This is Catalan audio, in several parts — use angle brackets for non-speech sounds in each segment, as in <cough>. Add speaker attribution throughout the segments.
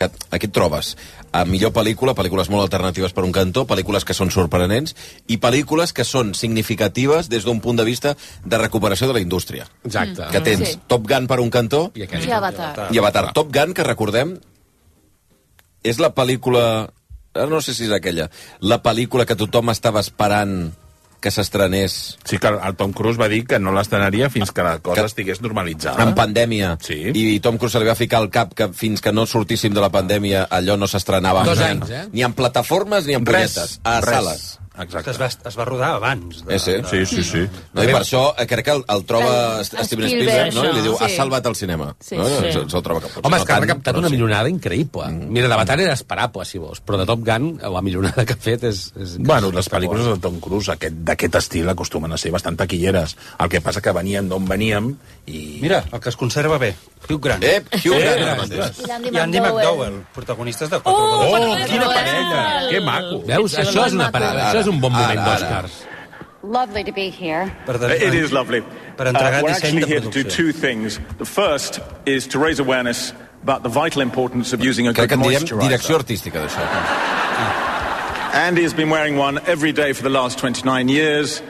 Speaker 1: Aquí et trobes a millor pel·lícula, pel·lícules molt alternatives per un cantó, pel·lícules que són sorprenents i pel·lícules que són significatives des d'un punt de vista de recuperació de la indústria.
Speaker 2: Exacte.
Speaker 1: Que tens
Speaker 3: Sí.
Speaker 1: Top Gun per un cantó
Speaker 2: Mm. I aquest.
Speaker 3: I Avatar.
Speaker 1: i Avatar. Top Gun, que recordem, és la pel·lícula... Ara no sé si és aquella. La pel·lícula que tothom estava esperant que s'estrenés
Speaker 4: Sí que el Tom Cruise va dir que no l'estrenaria fins que la cosa
Speaker 1: Que-
Speaker 4: estigués normalitzada.
Speaker 1: en pandèmia
Speaker 4: Sí.
Speaker 1: i Tom Cruise se li va ficar al cap que fins que no sortíssim de la pandèmia allò no s'estrenava
Speaker 2: Dos
Speaker 1: ni,
Speaker 2: anys, eh?
Speaker 1: ni en plataformes ni en
Speaker 4: Res,
Speaker 1: punyetes, a
Speaker 4: res.
Speaker 1: sales.
Speaker 4: Exacte. Mm.
Speaker 5: Es va, es va rodar abans. De,
Speaker 1: Eh, sí?
Speaker 5: de-
Speaker 4: Sí, sí, sí.
Speaker 1: No, i per això eh, crec que el, el troba
Speaker 3: El-
Speaker 1: el, Steven
Speaker 3: Spielberg,
Speaker 1: Spielberg, no? i li
Speaker 3: això,
Speaker 1: diu,
Speaker 3: sí.
Speaker 1: ha salvat el cinema.
Speaker 3: Sí,
Speaker 1: no?
Speaker 3: sí.
Speaker 1: Se'l- se'l troba que potser
Speaker 2: Home,
Speaker 1: no
Speaker 2: és que ha
Speaker 1: tant,
Speaker 2: recaptat
Speaker 1: però
Speaker 2: una
Speaker 1: sí.
Speaker 2: millonada increïble. Mira, d'Avatar era esperable, si vols, però de Top Gun, la millonada que ha fet és... és
Speaker 4: Bueno, les pel·lícules de Tom Cruise aquest- d'aquest estil acostumen a ser bastant taquilleres. El que passa que veníem d'on veníem i...
Speaker 5: Mira, el que es conserva bé, Hugh Grant.
Speaker 1: Ep, Hugh
Speaker 5: Eh,
Speaker 1: Grant,
Speaker 5: eh,
Speaker 1: ara mateix.
Speaker 3: I l'Andy
Speaker 5: I Andy
Speaker 3: McDowell.
Speaker 5: McDowell, protagonistes de
Speaker 3: Oh,
Speaker 5: Quatre oh,
Speaker 4: Oh,
Speaker 3: Bueno,
Speaker 4: quina
Speaker 3: bueno.
Speaker 4: parella! Que maco!
Speaker 2: Veus?
Speaker 3: Sí,
Speaker 2: Això és
Speaker 3: molt
Speaker 2: una
Speaker 3: maco.
Speaker 2: parada, això és un bon
Speaker 1: Ara,
Speaker 2: moment
Speaker 1: ara.
Speaker 2: d'Òscars.
Speaker 6: Lovely to be here.
Speaker 5: per, de,
Speaker 7: It is lovely.
Speaker 5: per entregar
Speaker 7: Uh, we're
Speaker 5: disseny
Speaker 7: actually
Speaker 5: de
Speaker 7: here to do
Speaker 5: producció.
Speaker 7: two things. The first is to raise awareness about the vital importance of using a good
Speaker 1: Crec que en direm direcció
Speaker 7: moisturizer.
Speaker 1: artística d'això.
Speaker 7: Andy has been wearing one every day for the last 29 years.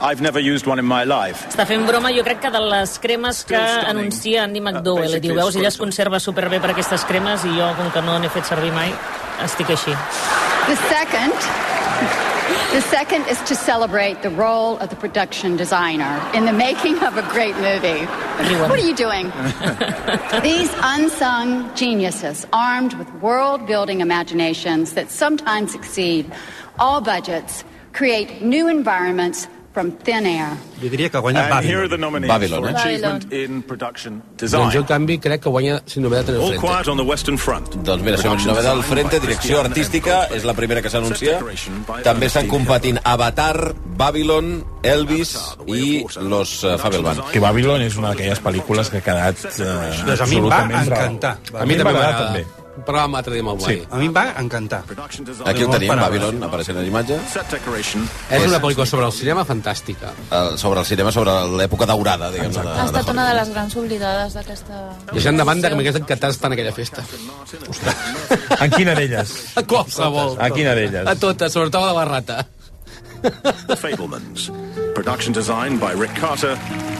Speaker 7: I've never used one in my life.
Speaker 8: Està fent broma, jo crec que de les cremes que
Speaker 7: Still stunning.
Speaker 8: anuncia Andy
Speaker 7: Uh,
Speaker 8: McDowell.
Speaker 7: basically
Speaker 8: Diu, veus, ella es
Speaker 7: squirted.
Speaker 8: conserva superbé per aquestes cremes i jo, com que no n'he fet servir mai, estic així.
Speaker 6: The second, <laughs> the second is to celebrate the role of the production designer in the making of a great movie.
Speaker 8: Everyone.
Speaker 6: What are you doing? These unsung geniuses, armed with world building imaginations that sometimes exceed all budgets, create new environments from thin air.
Speaker 5: Jo diria que guanya
Speaker 7: And here are the
Speaker 5: Babylon.
Speaker 7: nominees
Speaker 1: Babylon,
Speaker 7: for
Speaker 1: eh?
Speaker 7: achievement in production
Speaker 2: Doncs jo, en
Speaker 7: design.
Speaker 2: canvi, crec que guanya si no ve de tenir
Speaker 7: All
Speaker 2: frente.
Speaker 7: quiet on the Western Front.
Speaker 1: Doncs mira, som en novedad del Frente, direcció artística, és la primera que s'anuncia. També estan competint Avatar, Babylon, Elvis i Los eh, Fabelman.
Speaker 4: Que Babylon és una d'aquelles pel·lícules que ha quedat eh,
Speaker 5: Doncs a mi em va encantar.
Speaker 2: A mi també
Speaker 4: m'agrada,
Speaker 2: m'agrada. Un programa l'altre dia amb el Blai.
Speaker 4: Sí.
Speaker 5: A mi em va encantar.
Speaker 1: Aquí ho tenim, Babylon, apareixent les imatges.
Speaker 7: Set decoration.
Speaker 2: És una pel·lícula sobre el cinema fantàstica.
Speaker 1: Eh, Sobre el cinema, sobre l'època daurada, diguem-ne. de-
Speaker 3: Ha
Speaker 1: de
Speaker 3: estat una de les grans oblidades d'aquesta...
Speaker 2: I gent de banda que m'hagués encantat estar en
Speaker 3: <laughs>
Speaker 2: aquella festa.
Speaker 4: En quina d'elles?
Speaker 2: A qualsevol.
Speaker 4: A quina d'elles?
Speaker 2: A totes, sobretot a la barrata.
Speaker 7: The Fablemans. Production design by Rick Carter.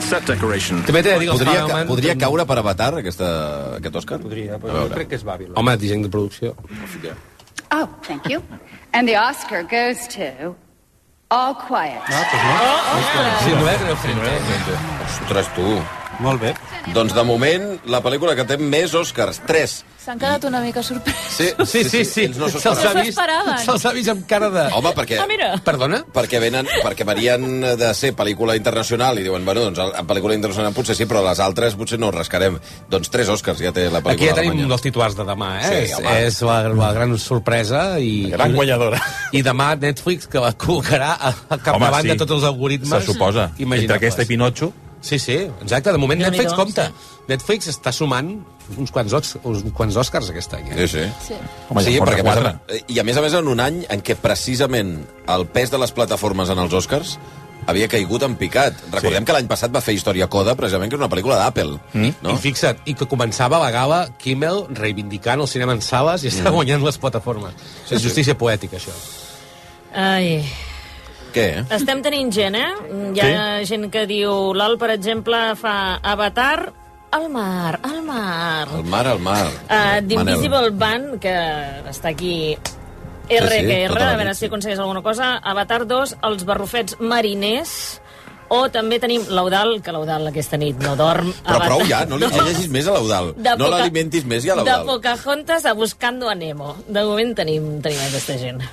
Speaker 7: Set decoration.
Speaker 2: També t'he de dir que els
Speaker 1: Podria, ca
Speaker 2: Fabelman-
Speaker 1: podria caure per Avatar aquesta, aquest Òscar? Podria,
Speaker 5: crec que és Babylon.
Speaker 2: Home, disseny de producció.
Speaker 6: Oh, thank you. And the Oscar goes to All Quiet.
Speaker 2: Sí, no eh? ve de tenir frente.
Speaker 1: Ostres, tu.
Speaker 5: Molt bé.
Speaker 1: Doncs de moment, la pel·lícula que té més Oscars, 3.
Speaker 3: S'han quedat una mica sorpresos.
Speaker 1: Sí,
Speaker 2: Sí, sí, sí.
Speaker 1: Ells no s'ho
Speaker 2: Se'ls ha
Speaker 3: esperaven.
Speaker 1: esperaven.
Speaker 3: No
Speaker 2: vist,
Speaker 3: s'ho esperaven.
Speaker 2: se'ls ha vist amb cara de...
Speaker 1: Home, perquè...
Speaker 8: Ah, mira!
Speaker 2: Perdona?
Speaker 1: perquè, venen, perquè venien de ser pel·lícula internacional i diuen, bueno, doncs a pel·lícula internacional potser sí, però les altres potser no rascarem. Doncs tres Oscars ja té la
Speaker 2: Aquí
Speaker 1: pel·lícula
Speaker 2: ja tenim un
Speaker 1: alemanya.
Speaker 2: dels titulars de demà, eh?
Speaker 1: Sí,
Speaker 2: és
Speaker 1: home.
Speaker 2: és la, la gran sorpresa i...
Speaker 4: Gran guanyadora.
Speaker 2: I demà Netflix, que la col·locarà a, a capdavant de tots els algoritmes.
Speaker 4: Se suposa. Entre aquesta i Pinocho.
Speaker 2: Sí, sí, exacte. De moment
Speaker 8: Déu-n'hi-do,
Speaker 2: Netflix compta. Netflix està sumant uns quants, Ox- uns quants Oscars aquest any. Eh?
Speaker 1: Sí, sí.
Speaker 3: Sí.
Speaker 4: Home,
Speaker 1: sí,
Speaker 4: ja en porta
Speaker 1: perquè, a més,
Speaker 4: quatre.
Speaker 1: a- eh, I a més a més en un any en què precisament el pes de les plataformes en els Oscars havia caigut en picat. Recordem
Speaker 4: Sí.
Speaker 1: que l'any passat va fer Història Coda, precisament, que és una pel·lícula d'Apple.
Speaker 2: No? I fixa't, i que començava la gala Kimmel reivindicant el cinema en sales i
Speaker 1: Mm.
Speaker 2: està guanyant les plataformes. Sí, és justícia poètica, això.
Speaker 8: Ai...
Speaker 1: Què?
Speaker 8: Estem tenint gent, eh? Hi ha gent que diu... L'Al, per exemple, fa Avatar al mar, al mar.
Speaker 1: El mar, el mar.
Speaker 8: Uh, The
Speaker 1: Manel.
Speaker 8: Invisible Band, que està aquí RQR,
Speaker 1: Sí, sí, tota la
Speaker 8: a veure
Speaker 1: nit, sí.
Speaker 8: si aconsegueix alguna cosa. Avatar 2, Els barrufets mariners. O també tenim l'Eudal, que l'Eudal aquesta nit no dorm.
Speaker 1: Però
Speaker 8: Avatar
Speaker 1: prou ja, no li
Speaker 8: dos.
Speaker 1: no llegis més a l'Eudal.
Speaker 8: De
Speaker 1: No
Speaker 8: Poca-
Speaker 1: l'alimentis més ja a
Speaker 8: De
Speaker 1: l'Eudal.
Speaker 8: Pocahontas a Buscando a Nemo. De moment tenim, tenim aquesta gent.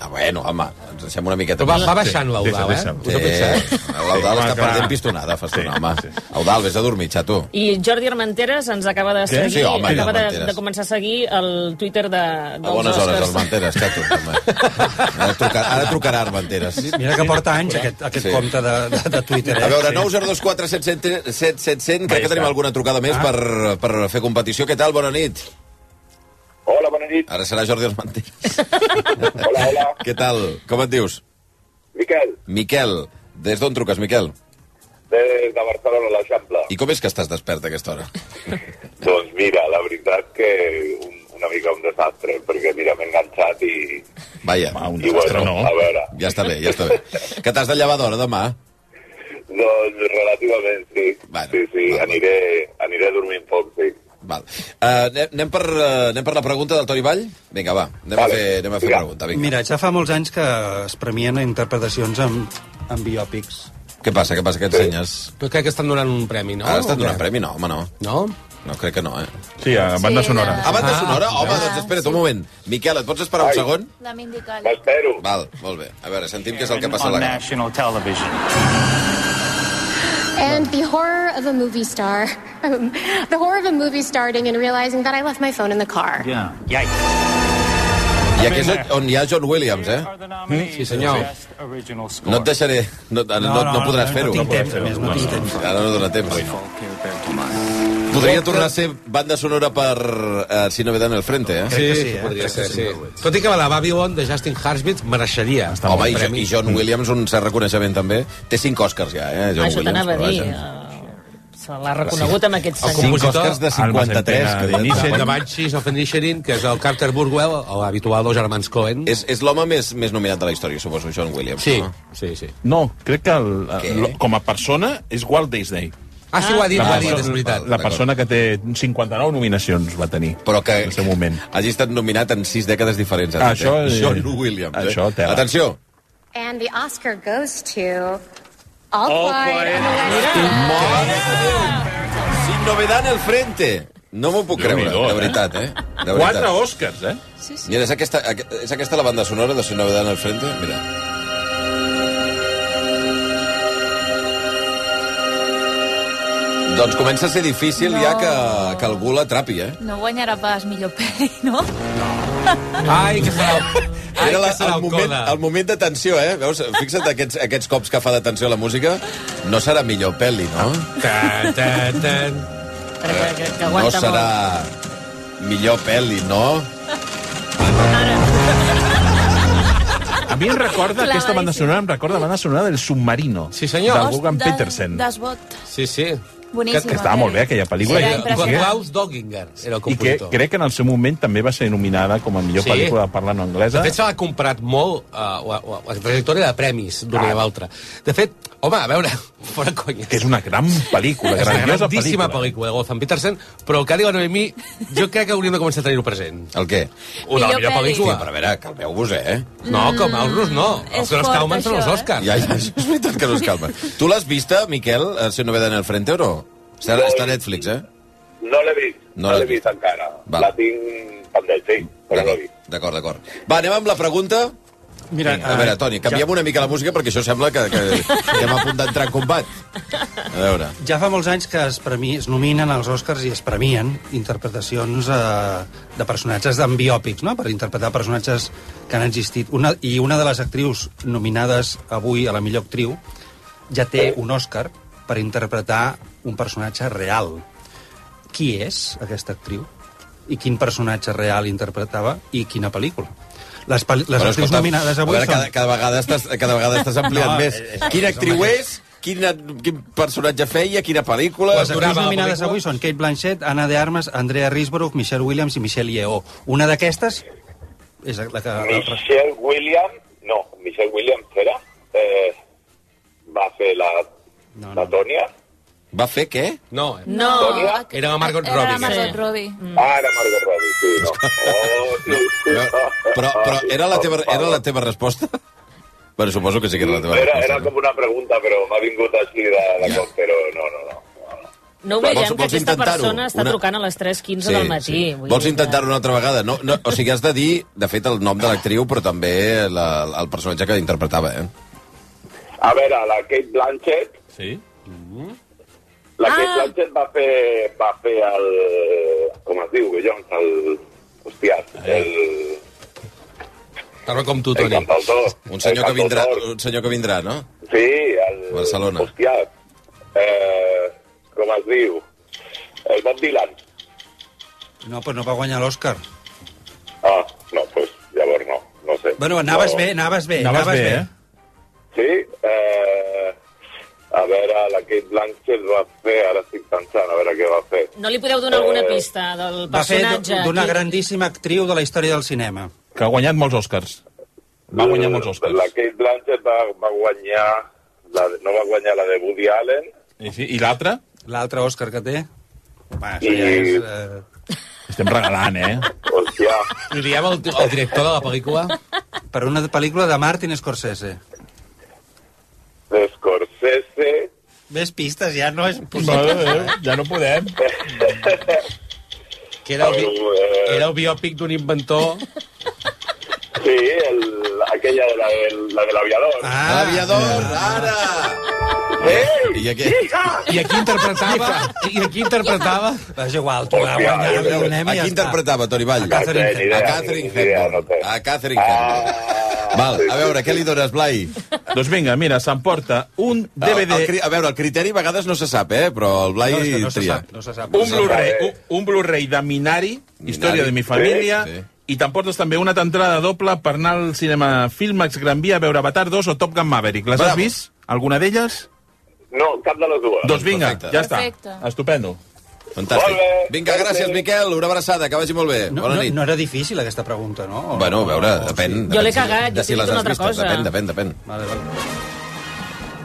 Speaker 1: Ah, bueno, home, ens deixem una miqueta
Speaker 2: Però va,
Speaker 1: més.
Speaker 2: va baixant
Speaker 4: Deixa,
Speaker 2: l'Eudal,
Speaker 4: deixa.
Speaker 2: eh? Us
Speaker 1: Sí,
Speaker 2: heu fixat?
Speaker 1: L'Eudal
Speaker 4: Sí,
Speaker 1: està
Speaker 4: home, clar.
Speaker 1: perdent pistonada fa estona,
Speaker 4: Sí,
Speaker 1: home.
Speaker 4: sí.
Speaker 1: Eudal, vés a dormir, xato.
Speaker 8: I Jordi Armenteres ens acaba de seguir,
Speaker 1: Sí, home,
Speaker 8: acaba de,
Speaker 1: Armenteres.
Speaker 8: de, començar a seguir el Twitter de, dels
Speaker 1: A bones hores,
Speaker 8: Oscars.
Speaker 1: Armenteres, xato. home. Ara, truca, ara trucarà Armenteres.
Speaker 5: Mira que porta anys aquest, aquest
Speaker 1: Sí.
Speaker 5: sí. compte de, de, de Twitter. Eh?
Speaker 1: A veure, 9 0 4 7 7 7 7 100. Crec que tenim alguna trucada
Speaker 4: Ah.
Speaker 1: més per, per fer competició. Què tal? Bona nit.
Speaker 9: Hola, bona nit.
Speaker 1: Ara serà Jordi Armenteres.
Speaker 9: Hola, hola.
Speaker 1: <laughs> Què tal? Com et dius?
Speaker 9: Miquel,
Speaker 1: Miquel. Des d'on truques, Miquel?
Speaker 9: des de Barcelona, l'Eixample.
Speaker 1: I com és que estàs despert a aquesta hora?
Speaker 9: Doncs mira, la veritat que un, un una mica un desastre, perquè mira, m'he enganxat i...
Speaker 1: Vaja,
Speaker 4: Ah, un
Speaker 9: i
Speaker 4: desastre, no.
Speaker 9: A veure,
Speaker 1: ja està bé, ja està bé. Que t'has de llevar d'hora demà?
Speaker 9: doncs relativament sí.
Speaker 1: Bueno,
Speaker 9: sí, sí,
Speaker 1: va, va.
Speaker 9: aniré, aniré dormint poc, sí.
Speaker 1: Val. Uh, anem, per, uh, anem per la pregunta del Toni Vall? Vinga, va, anem
Speaker 9: Vale.
Speaker 1: a fer, anem a fer
Speaker 9: Vinga.
Speaker 1: pregunta. Vinga.
Speaker 5: Mira, ja fa molts anys que es premien interpretacions amb, amb biòpics.
Speaker 1: Què passa, què passa, què ensenyes?
Speaker 2: Però crec que estan donant un premi, no?
Speaker 1: No, Ara
Speaker 2: O
Speaker 1: estan donant
Speaker 2: què?
Speaker 1: premi? No, home, no.
Speaker 2: No?
Speaker 1: No, crec que no, eh?
Speaker 4: Sí, a banda
Speaker 3: Sí,
Speaker 4: sonora.
Speaker 3: la-
Speaker 1: A banda sonora? Home,
Speaker 3: ah,
Speaker 1: doncs espera't un moment. Miquel, et pots esperar un
Speaker 9: Ai.
Speaker 1: segon?
Speaker 3: La Mindicali.
Speaker 9: M'espero.
Speaker 1: Val, molt bé. A veure, sentim què és el que passa a la gana.
Speaker 10: And the horror of a movie star. <laughs> Um, the horror of a movie starting and realizing that I left my phone in the car.
Speaker 1: I aquí és on hi ha John Williams, eh?
Speaker 2: Sí, senyor.
Speaker 1: No et deixaré... No, no, no, no podràs fer-ho.
Speaker 5: No tinc temps, a més, no tinc temps.
Speaker 1: Ara no dóna temps. Podria tornar a ser banda sonora per eh, Si no ve en el frente, eh?
Speaker 5: Crec que sí, eh?
Speaker 2: podria
Speaker 5: Crec
Speaker 2: ser,
Speaker 5: que
Speaker 2: sí. Tot i que la de Babylon de Justin Harsbitz mereixeria.
Speaker 1: Està Home, i, jo, i
Speaker 4: Mm.
Speaker 1: John Williams, un cert reconeixement també. Té cinc Oscars ja, eh, John
Speaker 8: Això t'anava a
Speaker 1: però
Speaker 8: dir.
Speaker 1: vaja.
Speaker 8: eh, Se l'ha reconegut amb aquest
Speaker 2: El
Speaker 8: senyor.
Speaker 1: Cinc
Speaker 2: compositor,
Speaker 1: Oscars de 53,
Speaker 4: Alma
Speaker 1: que
Speaker 4: Centena,
Speaker 1: ja
Speaker 2: Nietzsche de
Speaker 1: està.
Speaker 2: Banshees of Inisherin, que és el Carter Burwell, l'habitual dos germans Cohen.
Speaker 1: És, és l'home més, més nominat de la història, suposo, John Williams.
Speaker 2: Sí,
Speaker 1: No?
Speaker 2: sí, sí.
Speaker 4: No, crec que el,
Speaker 1: Què?
Speaker 4: el, com a persona és Walt Disney.
Speaker 2: Ah, sí, ho ha dit,
Speaker 4: La,
Speaker 2: ho ha dit,
Speaker 4: persona-
Speaker 2: és veritat.
Speaker 4: la persona que té 59 nominacions va tenir.
Speaker 1: Però que
Speaker 4: En el seu moment.
Speaker 1: hagi estat nominat en sis dècades diferents.
Speaker 4: Ah, això,
Speaker 1: eh?
Speaker 4: eh,
Speaker 1: John Williams.
Speaker 4: això,
Speaker 1: eh?
Speaker 4: tela.
Speaker 1: Atenció.
Speaker 10: And the Oscar goes to All, Quiet, on the Western
Speaker 1: Sin novedad en el frente. No m'ho puc creure,
Speaker 4: Déu-n'hi-do,
Speaker 1: de
Speaker 4: eh?
Speaker 1: veritat, eh? De veritat.
Speaker 4: Quatre Oscars, eh?
Speaker 3: Sí, sí.
Speaker 1: Mira, és aquesta, aqu- és aquesta la banda sonora de Sin novedad en el frente? Mira. Doncs comença a ser difícil no. ja que, que algú l'atrapi, eh?
Speaker 3: No guanyarà pas millor pel·li, no?
Speaker 2: Ai, que serà... Ai,
Speaker 1: Era la,
Speaker 2: que serà
Speaker 1: el, moment, el moment de tensió, eh? Veus? Fixa't aquests, aquests cops que fa de tensió a la música. No serà millor pel·li, no?
Speaker 2: Tan, tan, tan.
Speaker 8: Que, que, que
Speaker 1: No
Speaker 8: aguanta molt.
Speaker 1: serà millor pel·li, no?
Speaker 4: A mi em recorda, aquesta banda sonora, em recorda la banda sonora del Submarino.
Speaker 2: Sí, senyor.
Speaker 4: Del Wolfgang
Speaker 3: Des-
Speaker 4: Petersen.
Speaker 3: Desbot.
Speaker 2: Sí, sí.
Speaker 3: Boníssima. eh?
Speaker 4: Que estava molt bé aquella pel·lícula.
Speaker 3: Era
Speaker 4: I-
Speaker 3: impressionant.
Speaker 2: Klaus Dogginger era el
Speaker 4: I que
Speaker 2: compositor.
Speaker 4: crec que en el seu moment també va ser nominada com a millor
Speaker 2: Sí.
Speaker 4: pel·lícula de parla no
Speaker 2: De
Speaker 4: anglesa.
Speaker 2: fet, se l'ha comprat molt eh, la, la, la trajectòria de premis d'una i a l'altra. De fet, home, a veure, <laughs> fora conya.
Speaker 4: que és una gran pel·lícula,
Speaker 2: És una
Speaker 4: grandiosa
Speaker 2: grandíssima pel·lícula de Wolfgang Petersen, però el que ha dit la Noemí, jo crec que hauríem de començar a tenir-ho present.
Speaker 1: El què?
Speaker 2: Una
Speaker 3: Millor
Speaker 2: millor
Speaker 3: pel·li. Mm,
Speaker 1: Sí,
Speaker 2: pel·lícula.
Speaker 1: però a veure, calmeu-vos, eh?
Speaker 2: No, com els rus no.
Speaker 3: és
Speaker 2: Els que no es
Speaker 3: fort,
Speaker 2: calmen són els
Speaker 3: això, eh?
Speaker 2: Oscars.
Speaker 1: Ja, ja, és veritat que no es calma. Tu l'has vista, Miquel, eh, Si no ve en el frente o no? Està,
Speaker 9: No,
Speaker 1: està a
Speaker 9: i-
Speaker 1: Netflix, eh?
Speaker 9: No l'he vist,
Speaker 1: No
Speaker 9: no,
Speaker 1: l'has
Speaker 9: l'he vist
Speaker 1: vist.
Speaker 9: encara.
Speaker 1: Val.
Speaker 9: La tinc pendent, sí, però no l'he vist.
Speaker 1: D'acord, d'acord. Va, anem amb la pregunta.
Speaker 5: Mira, eh,
Speaker 1: A veure, Toni, canviem una mica la música perquè això sembla que,
Speaker 5: <laughs>
Speaker 1: que estem a punt d'entrar en combat. A veure.
Speaker 5: Ja fa molts anys que es, premi, es nominen als Oscars i es premien interpretacions eh, de personatges d'en biòpics, no? per interpretar personatges que han existit. Una, I una de les actrius nominades avui a la millor actriu ja té un Oscar per interpretar un personatge real. Qui és aquesta actriu? I quin personatge real interpretava? I quina pel·lícula? Les, pel les
Speaker 1: Bueno,
Speaker 5: actrius
Speaker 1: escolta'm,
Speaker 5: nominades
Speaker 1: a
Speaker 5: avui
Speaker 1: veure, cada,
Speaker 5: són...
Speaker 1: cada, vegada estàs, cada vegada estàs ampliant
Speaker 5: No,
Speaker 1: més.
Speaker 5: és- és-
Speaker 1: Quina
Speaker 5: és-
Speaker 1: actriu
Speaker 5: home,
Speaker 1: és? Quina, quin personatge feia? Quina pel·lícula?
Speaker 5: Les actrius
Speaker 2: durava la
Speaker 5: nominades
Speaker 2: pel·lícula?
Speaker 5: avui són Kate Blanchett, Anna de Armas, Andrea Risborough, Michelle Williams i Michelle Yeoh. Una d'aquestes és la que... La...
Speaker 9: Michelle Williams, no, Michelle Williams era, eh, va fer la,
Speaker 5: No, no.
Speaker 9: la Tònia.
Speaker 1: Va fer què?
Speaker 2: No, eh?
Speaker 8: No,
Speaker 9: Tònia?
Speaker 2: era la Margot
Speaker 3: Era la
Speaker 2: Robbie. eh?
Speaker 8: Sí.
Speaker 3: Margot Robbie.
Speaker 9: Ah, era Margot Robbie, sí, no. Oh, sí, sí. Ah,
Speaker 1: Però, però era, la teva, era la teva resposta? Bueno, suposo que sí que era la teva
Speaker 9: Era,
Speaker 1: resposta.
Speaker 9: era com una pregunta, però m'ha vingut així de, de
Speaker 1: Ja.
Speaker 9: cop, però no, no, no.
Speaker 8: no oblidem
Speaker 1: Vols-
Speaker 8: que
Speaker 1: vols
Speaker 8: aquesta
Speaker 1: intentar-ho?
Speaker 8: persona està
Speaker 1: Una-
Speaker 8: trucant a les 3.15 del matí. vull
Speaker 1: Vols
Speaker 8: dir que-
Speaker 1: intentar-ho una altra vegada? No, no, o sigui, has de dir, de fet, el nom de l'actriu, però també la, el personatge que interpretava, eh?
Speaker 9: A veure, la Kate Blanchett,
Speaker 4: Sí?
Speaker 9: la
Speaker 8: Ah.
Speaker 9: Kate Blanchett va fer, va fer el... Com es diu, collons? El... Hòstia,
Speaker 1: Eh,
Speaker 9: el...
Speaker 2: Tarda com tu,
Speaker 9: El
Speaker 2: Toni.
Speaker 9: cantautor.
Speaker 1: Un senyor que
Speaker 9: El
Speaker 1: vindrà,
Speaker 9: cantautor.
Speaker 1: un senyor que vindrà no?
Speaker 9: Sí, el...
Speaker 1: Barcelona.
Speaker 9: Hòstia, eh, com es diu? El Bob Dylan.
Speaker 5: No, però no va guanyar l'Oscar.
Speaker 9: Ah, no, doncs pues, llavors no, no sé.
Speaker 5: Bueno, anaves
Speaker 9: no.
Speaker 5: bé, anaves bé.
Speaker 4: Anaves bé, eh?
Speaker 9: Sí, eh, a veure... la Kate Blanchett va fer, ara estic pensant a veure què va fer.
Speaker 8: No li podeu donar alguna pista del
Speaker 5: Va ser
Speaker 8: personatge?
Speaker 5: d- d'una
Speaker 8: Qui-
Speaker 5: grandíssima actriu de la història del cinema.
Speaker 4: Que ha guanyat molts Oscars. Va guanyar molts Oscars.
Speaker 9: La Kate Blanchett va, va guanyar, la, de- no va guanyar la de Woody Allen,
Speaker 4: I, sí, i l'altre?
Speaker 5: L'altre Òscar que té... Va,
Speaker 9: I-
Speaker 5: això ja és... Eh...
Speaker 4: Estem regalant, eh? <laughs>
Speaker 9: hòstia,
Speaker 2: Li diem al, al director de la pel·lícula?
Speaker 5: Per una pel·lícula de Martin Scorsese.
Speaker 9: de Scorsese,
Speaker 5: Més pistes ja no és
Speaker 4: Mare de Déu, ja no podem.
Speaker 2: Que era el, bi-
Speaker 9: eh,
Speaker 2: Eh, era el biòpic d'un inventor.
Speaker 9: sí, el, aquella de la, del- la de l'aviador. Ah.
Speaker 5: Ah,
Speaker 1: Ah, L'aviador, ara!
Speaker 9: Ei,
Speaker 1: I aquí...
Speaker 2: I aquí interpretava... I aquí interpretava...
Speaker 5: va, és igual, tu la guanyar,
Speaker 9: Hòstia,
Speaker 5: la donem
Speaker 1: A
Speaker 5: i ja
Speaker 1: qui
Speaker 5: està.
Speaker 1: interpretava, Toni Vall?
Speaker 5: A Catherine
Speaker 9: No té ni idea,
Speaker 1: A Catherine
Speaker 9: no té ni idea,
Speaker 1: Hepburn.
Speaker 9: no té.
Speaker 1: A Catherine Hepburn.
Speaker 9: Ah.
Speaker 1: Val, a veure, què li dones,
Speaker 5: <laughs>
Speaker 1: Blai?
Speaker 4: Doncs vinga, mira, s'emporta un
Speaker 1: El, el,
Speaker 4: DVD...
Speaker 1: cri- a veure, el criteri a vegades no se sap, eh? Però el Blai
Speaker 5: No, és que no se
Speaker 1: tria.
Speaker 5: sap, no se sap.
Speaker 4: un Blu-ray un, un Blu-ray de Minari,
Speaker 1: Minari.
Speaker 4: Història de mi família,
Speaker 1: Sí,
Speaker 4: sí,
Speaker 1: sí.
Speaker 4: i t'emportes també una entrada doble per anar al cinema Filmax Gran Via a veure Avatar 2 o Top Gun Maverick. Les
Speaker 1: Bravo.
Speaker 4: has vist? Alguna d'elles?
Speaker 9: No, cap de les dues.
Speaker 4: Doncs vinga,
Speaker 1: perfecte.
Speaker 4: ja està.
Speaker 3: Perfecte.
Speaker 4: Estupendo.
Speaker 1: Fantàstic.
Speaker 9: Molt bé.
Speaker 1: Vinga, gràcies, Miquel. Una abraçada, que vagi molt bé.
Speaker 5: No,
Speaker 1: Bona
Speaker 5: no,
Speaker 1: nit.
Speaker 5: no era difícil, aquesta pregunta, no? O-
Speaker 1: Bueno, a veure,
Speaker 5: o-
Speaker 1: depèn...
Speaker 5: Oh. sí.
Speaker 1: depèn
Speaker 8: l'he
Speaker 1: si-
Speaker 8: cagat,
Speaker 1: de
Speaker 8: jo
Speaker 1: si
Speaker 8: he
Speaker 1: les
Speaker 8: dit una
Speaker 1: has
Speaker 8: altra
Speaker 1: vistes.
Speaker 8: cosa.
Speaker 1: Depèn, depèn, depèn.
Speaker 5: Vale, vale.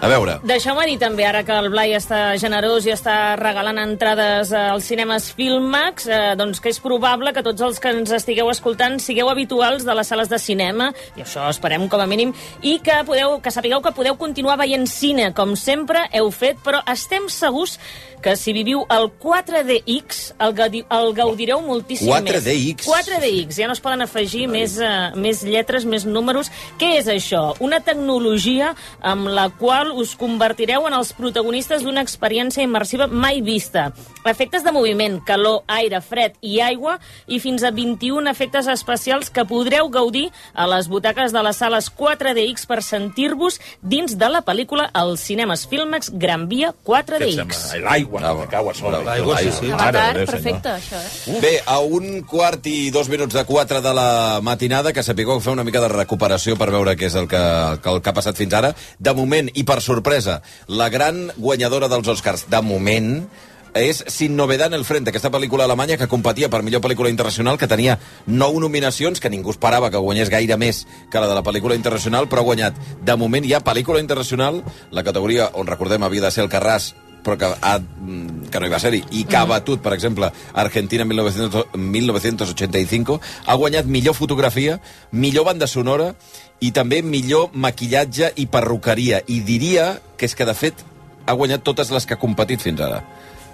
Speaker 1: A veure,
Speaker 8: Deixeu-me dir també, ara que el Blai està generós i està regalant entrades eh, als cinemes Filmax, eh, doncs que és probable que tots els que ens estigueu escoltant sigueu habituals de les sales de cinema, i això esperem com a mínim, i que, podeu, que sapigueu que podeu continuar veient cine, com sempre heu fet, però estem segurs que si viviu el 4DX el, gaudi, el gaudireu moltíssim
Speaker 1: 4DX.
Speaker 8: més. 4DX, ja no es poden afegir més, uh, més lletres, més números. Què és això? Una tecnologia amb la qual us convertireu en els protagonistes d'una experiència immersiva mai vista. Efectes de moviment, calor, aire, fred i aigua i fins a 21 efectes especials que podreu gaudir a les butaques de les sales 4DX per sentir-vos dins de la pel·lícula als cinemes Filmex Gran Via 4DX.
Speaker 4: L'aigua,
Speaker 1: Bravo.
Speaker 4: que cau a sobre.
Speaker 1: Bravo. L'aigua, sí,
Speaker 4: sí.
Speaker 3: Avatar, perfecte, això, eh?
Speaker 1: Bé, a un quart i dos minuts de quatre de la matinada, que sapigueu fer una mica de recuperació per veure què és el que, que, el que ha passat fins ara. De moment, i per sorpresa, la gran guanyadora dels Oscars, de moment, és Sin novedad en el frente, aquesta pel·lícula alemanya que competia per millor pel·lícula internacional, que tenia nou nominacions, que ningú esperava que guanyés gaire més que la de la pel·lícula internacional, però ha guanyat. De moment hi ha pel·lícula internacional, la categoria on recordem havia de ser el Carràs, però que, ha, mm, que no hi va ser-hi, i que ha batut, per exemple, Argentina 1900, 1985, ha guanyat millor fotografia, millor banda sonora i també millor maquillatge i perruqueria. I diria que és que, de fet, ha guanyat totes les que ha competit fins ara.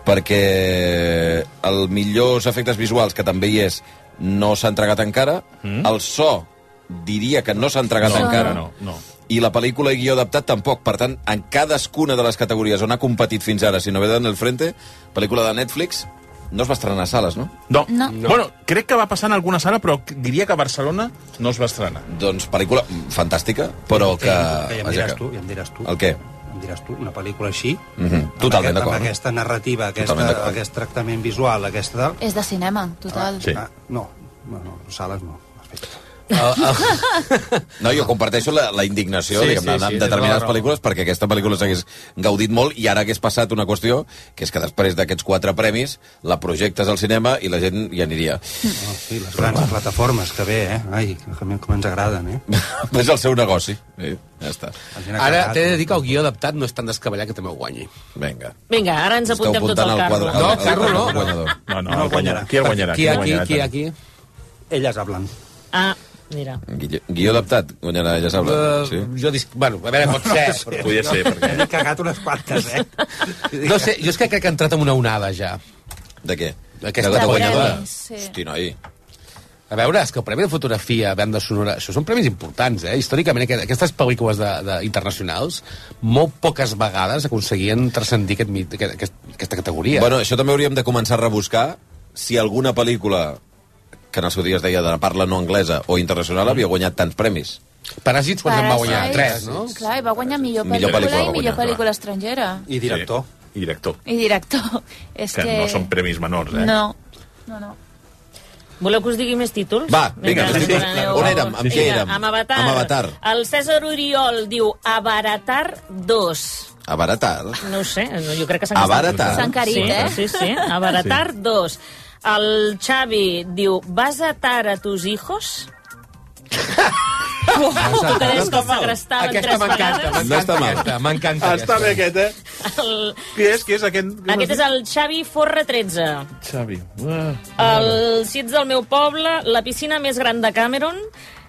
Speaker 1: Perquè els millors efectes visuals, que també hi és, no s'ha entregat encara. Mm. El so diria que no s'ha entregat
Speaker 4: No,
Speaker 1: encara
Speaker 4: no, no.
Speaker 1: i la pel·lícula i guió adaptat tampoc. Per tant, en cadascuna de les categories on ha competit fins ara, si no ve en el frente, pel·lícula de Netflix, no es va estrenar a sales, no?
Speaker 4: No.
Speaker 3: No.
Speaker 4: no. Bueno, crec que va passar en alguna sala, però diria que a Barcelona no es va estrenar.
Speaker 1: Doncs pel·lícula mm, fantàstica, però que...
Speaker 5: que ja em
Speaker 1: vaja,
Speaker 5: diràs
Speaker 1: que-
Speaker 5: tu, ja em diràs tu.
Speaker 1: El què?
Speaker 5: Em diràs tu, una pel·lícula així,
Speaker 1: Mhm,
Speaker 5: amb
Speaker 1: totalment
Speaker 5: aquest-
Speaker 1: d'acord,
Speaker 5: Amb
Speaker 1: no?
Speaker 5: aquesta narrativa, aquesta,
Speaker 1: Totalment d'acord.
Speaker 5: aquest tractament visual, aquesta...
Speaker 3: És de cinema, total.
Speaker 4: Sí.
Speaker 5: Ah, no, no, no, sales no. Perfecte.
Speaker 1: No, jo comparteixo la, la indignació
Speaker 2: Sí,
Speaker 1: sí, diguem-ne,
Speaker 2: sí, sí,
Speaker 1: sí,
Speaker 2: tens tota
Speaker 1: determinades
Speaker 2: la raó.
Speaker 1: pel·lícules perquè aquesta pel·lícula s'hagués gaudit molt i ara hagués passat una qüestió que és que després d'aquests quatre premis la projectes al cinema i la gent hi aniria. <laughs>
Speaker 5: Oh, sí, les grans plataformes, que bé, eh? Ai, com, com ens agraden, eh?
Speaker 1: és el seu negoci. Sí, ja està.
Speaker 5: Ens n'ha
Speaker 2: Ara
Speaker 5: agradat.
Speaker 2: t'he de dir que el guió adaptat no és tan descabellat que també ho guanyi.
Speaker 1: Vinga.
Speaker 8: Vinga, ara ens
Speaker 1: Esteu
Speaker 8: apuntem
Speaker 1: apuntant
Speaker 8: tot al
Speaker 1: al
Speaker 8: carro.
Speaker 1: quadre.
Speaker 2: No, Carro no.
Speaker 1: guanyador.
Speaker 4: No, no,
Speaker 5: No
Speaker 4: el
Speaker 5: guanyarà.
Speaker 4: guanyarà. Qui el guanyarà?
Speaker 2: Qui aquí,
Speaker 4: guanyarà
Speaker 2: qui
Speaker 4: tant?
Speaker 2: aquí?
Speaker 5: Elles hablan.
Speaker 8: Ah, mira.
Speaker 1: Guillo- Guió adaptat, guanyarà, ja sabrà.
Speaker 2: Uh,
Speaker 1: sí.
Speaker 2: Jo dic, bueno, a veure, pot
Speaker 5: <laughs>
Speaker 2: ser. però-
Speaker 4: Podria ser, perquè...
Speaker 5: He cagat unes quantes, eh?
Speaker 2: <laughs> No sé, jo és que crec que ha entrat en una onada ja.
Speaker 1: De què?
Speaker 2: Aquesta
Speaker 1: De la
Speaker 2: guanyadora.
Speaker 3: Sí.
Speaker 1: Hosti, noi.
Speaker 2: A veure, és que el Premi de Fotografia, Banda Sonora, això són premis importants, eh? Històricament, aqu- aquestes pel·lícules de, de, internacionals molt poques vegades aconseguien transcendir aquest, mit- aquest, aquest, aquesta categoria.
Speaker 1: Bueno, això també hauríem de començar a rebuscar si alguna pel·lícula que en el seu dia es deia de parla no anglesa o internacional havia guanyat tants premis.
Speaker 2: Paràsits, quan en va guanyar?
Speaker 3: Parasite,
Speaker 2: Tres, no?
Speaker 3: Clar, i va guanyar millor
Speaker 1: Millor
Speaker 3: pel·lícula,
Speaker 1: pel·lícula va
Speaker 3: i millor
Speaker 1: guanyar,
Speaker 3: pel·lícula estrangera.
Speaker 5: I director. Sí.
Speaker 4: I director.
Speaker 3: I director. És
Speaker 4: Eh? Que, no són premis menors, eh?
Speaker 3: No, no, no.
Speaker 8: Voleu que us digui més títols?
Speaker 1: Va, vinga,
Speaker 8: Mentre
Speaker 1: els títols.
Speaker 8: espereu-
Speaker 1: On érem? Amb què
Speaker 8: Vinga,
Speaker 1: érem?
Speaker 8: Amb Avatar.
Speaker 1: Amb Avatar.
Speaker 8: El César Oriol diu Avaratar 2.
Speaker 1: Abaratar.
Speaker 8: No ho sé, no, jo crec que s'han gastat.
Speaker 1: Avaratar. S'ha
Speaker 3: encarit,
Speaker 8: sí,
Speaker 3: eh?
Speaker 8: Sí, sí, Avaratar 2. El Xavi diu, vas a atar a tus hijos? Uau, tu que deies que el segrestaven
Speaker 2: Aquesta
Speaker 8: tres
Speaker 2: m'encanta,
Speaker 8: vegades.
Speaker 1: No està
Speaker 2: m'encanta
Speaker 1: mal.
Speaker 2: aquesta, m'encanta
Speaker 4: Està bé aquest, eh?
Speaker 8: El,
Speaker 4: Qui és? Qui és aquest?
Speaker 8: aquest és el Xavi Forra 13.
Speaker 4: Xavi. Ah.
Speaker 8: El, si ets del meu poble, la piscina més gran de Cameron,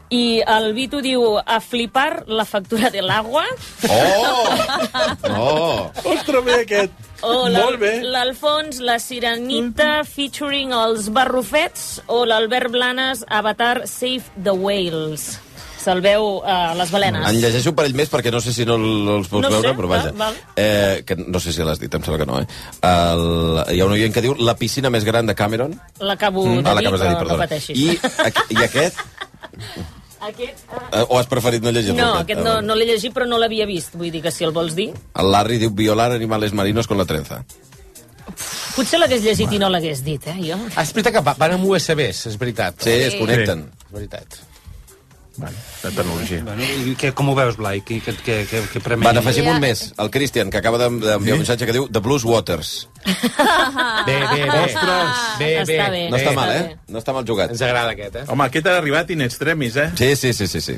Speaker 8: i el Vito diu a flipar la factura
Speaker 1: <laughs>
Speaker 8: de l'aigua.
Speaker 1: Oh! Oh!
Speaker 4: Ostres, bé aquest.
Speaker 8: O l'Al-
Speaker 4: Molt bé.
Speaker 8: l'Alfons, la
Speaker 1: Mm-hmm.
Speaker 8: sirenita, featuring els barrufets, o l'Albert Blanes, Avatar Save the Whales. Salveu eh, les balenes.
Speaker 1: En llegeixo un parell més perquè no sé si no l- els pots
Speaker 8: No sé,
Speaker 1: veure, però vaja.
Speaker 8: va, val.
Speaker 1: Eh, que no sé si l'has dit, em sembla que no, eh? El, hi ha un oient que diu la piscina més gran de Cameron.
Speaker 8: L'acabo de
Speaker 1: Ah,
Speaker 8: dir,
Speaker 1: l'acabes de dir,
Speaker 8: però Uh, no
Speaker 1: perdona.
Speaker 8: pateixis.
Speaker 1: I, aqu- I aquest?
Speaker 8: Aquest, eh,
Speaker 1: Eh, O has preferit no llegir-lo?
Speaker 8: no, aquest no, no l'he llegit, però no l'havia vist. Vull dir que si el vols dir...
Speaker 1: El Larry diu violar animales marinos con la trenza.
Speaker 8: Potser l'hagués llegit i no l'hagués dit, eh, jo.
Speaker 2: Ah, És veritat que va- van amb USBs, és veritat.
Speaker 1: Sí, es connecten.
Speaker 2: És veritat.
Speaker 4: Vale, la tecnologia.
Speaker 5: Bueno, i què, com ho veus, Blai? Que, que, que, que, que premi...
Speaker 1: Va, n'afegim un més. El Christian, que acaba d'en- d'enviar un missatge que diu The Blues Waters.
Speaker 2: Bé, bé, bé. Bé, bé.
Speaker 8: Està bé.
Speaker 1: No està mal,
Speaker 8: està
Speaker 1: eh? No està mal jugat.
Speaker 2: Ens agrada aquest, eh?
Speaker 4: Home, aquest ha arribat in extremis, eh?
Speaker 1: Sí, sí, sí, sí. sí.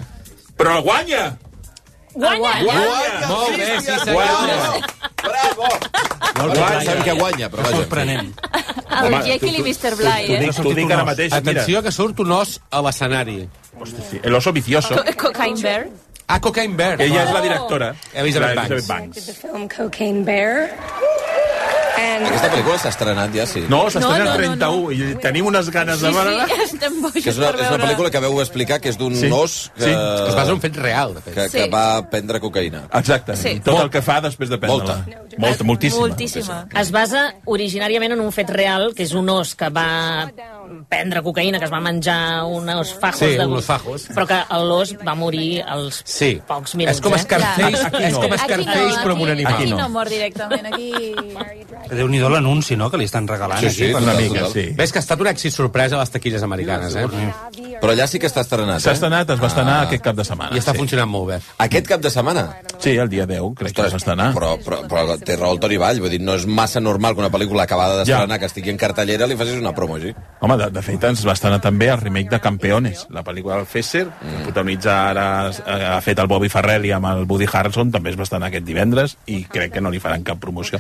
Speaker 4: Però guanya!
Speaker 8: Guanya!
Speaker 4: Guanya!
Speaker 2: Molt bé, sí,
Speaker 4: Guanya!
Speaker 1: Bravo! No,
Speaker 4: Guanya.
Speaker 1: sabem que guanya, però vaja.
Speaker 5: Sorprenent.
Speaker 3: El
Speaker 4: Home,
Speaker 3: Jekyll Ah, i
Speaker 4: tu-
Speaker 3: Mr. Bly,
Speaker 4: T'ho
Speaker 3: eh?
Speaker 4: dic, t'ho dic ara mateix, mira.
Speaker 2: Atenció que surt un os a l'escenari.
Speaker 4: Hosti, sí. El oso vicioso.
Speaker 3: Co- Cocaine Bear.
Speaker 2: Ah, Cocaine Bear.
Speaker 4: Ella és la directora.
Speaker 2: Elizabeth
Speaker 4: La
Speaker 2: Banks.
Speaker 4: Banks.
Speaker 10: Film Cocaine Bear. And
Speaker 1: Aquesta pel·lícula s'ha estrenat ja, sí.
Speaker 4: No, s'estrena
Speaker 3: No, no,
Speaker 4: el
Speaker 3: no,
Speaker 4: 31 i tenim unes ganes de veure-la.
Speaker 3: sí, estem bojos
Speaker 1: Que és una,
Speaker 3: per
Speaker 1: és una
Speaker 3: veure-la.
Speaker 1: pel·lícula que veu explicar que és d'un
Speaker 4: Sí.
Speaker 1: os que,
Speaker 4: Sí. Ah,
Speaker 2: Es basa Eh, en un fet real, de fet.
Speaker 1: Eh, que, que
Speaker 3: Sí.
Speaker 1: va prendre cocaïna.
Speaker 4: Exacte.
Speaker 3: Sí.
Speaker 4: Tot el que fa després de prendre-la.
Speaker 1: Molta.
Speaker 4: Molta, moltíssima.
Speaker 3: Moltíssima.
Speaker 8: Es basa originàriament en un fet real, que és un os que va prendre cocaïna, que es va menjar uns fajos.
Speaker 2: Sí,
Speaker 8: de...
Speaker 2: uns fajos.
Speaker 8: Però que l'os va morir als
Speaker 2: Sí.
Speaker 8: pocs minuts.
Speaker 2: És
Speaker 8: eh?
Speaker 2: com Scarface,
Speaker 3: eh? Ja.
Speaker 2: és com
Speaker 3: Aquí no,
Speaker 2: Scarface, però amb un
Speaker 3: aquí-
Speaker 2: animal.
Speaker 3: Aquí no mor directament, aquí...
Speaker 5: Déu-n'hi-do l'anunci, no?, que li estan regalant
Speaker 1: Sí, sí,
Speaker 5: aquí.
Speaker 1: una
Speaker 5: per-
Speaker 1: mica.
Speaker 4: Vinga, sí.
Speaker 2: Ves que ha estat un èxit sorpresa a les taquilles americanes, eh?
Speaker 1: Però allà sí que està estrenat,
Speaker 4: S'ha
Speaker 1: eh?
Speaker 4: estrenat, es va estrenar aquest cap de setmana.
Speaker 2: I està
Speaker 4: Ah, sí.
Speaker 2: funcionant molt bé.
Speaker 1: Aquest cap de setmana.
Speaker 4: Sí, el dia 10, crec que es va estrenar.
Speaker 1: Però, però, però té raó el Toni Vall, vull dir, no és massa normal que una pel·lícula acabada d'estrenar,
Speaker 4: Ja.
Speaker 1: que estigui en cartellera, li facis una promo, sí?
Speaker 4: Home, de, de fet, ens va estrenar també el remake de Campeones, la pel·lícula del Fesser, que protagonitza ara, eh, ha fet el Bobby Farrelly amb el Woody Harrelson, també es va estrenar aquest divendres, i crec que no li faran cap promoció.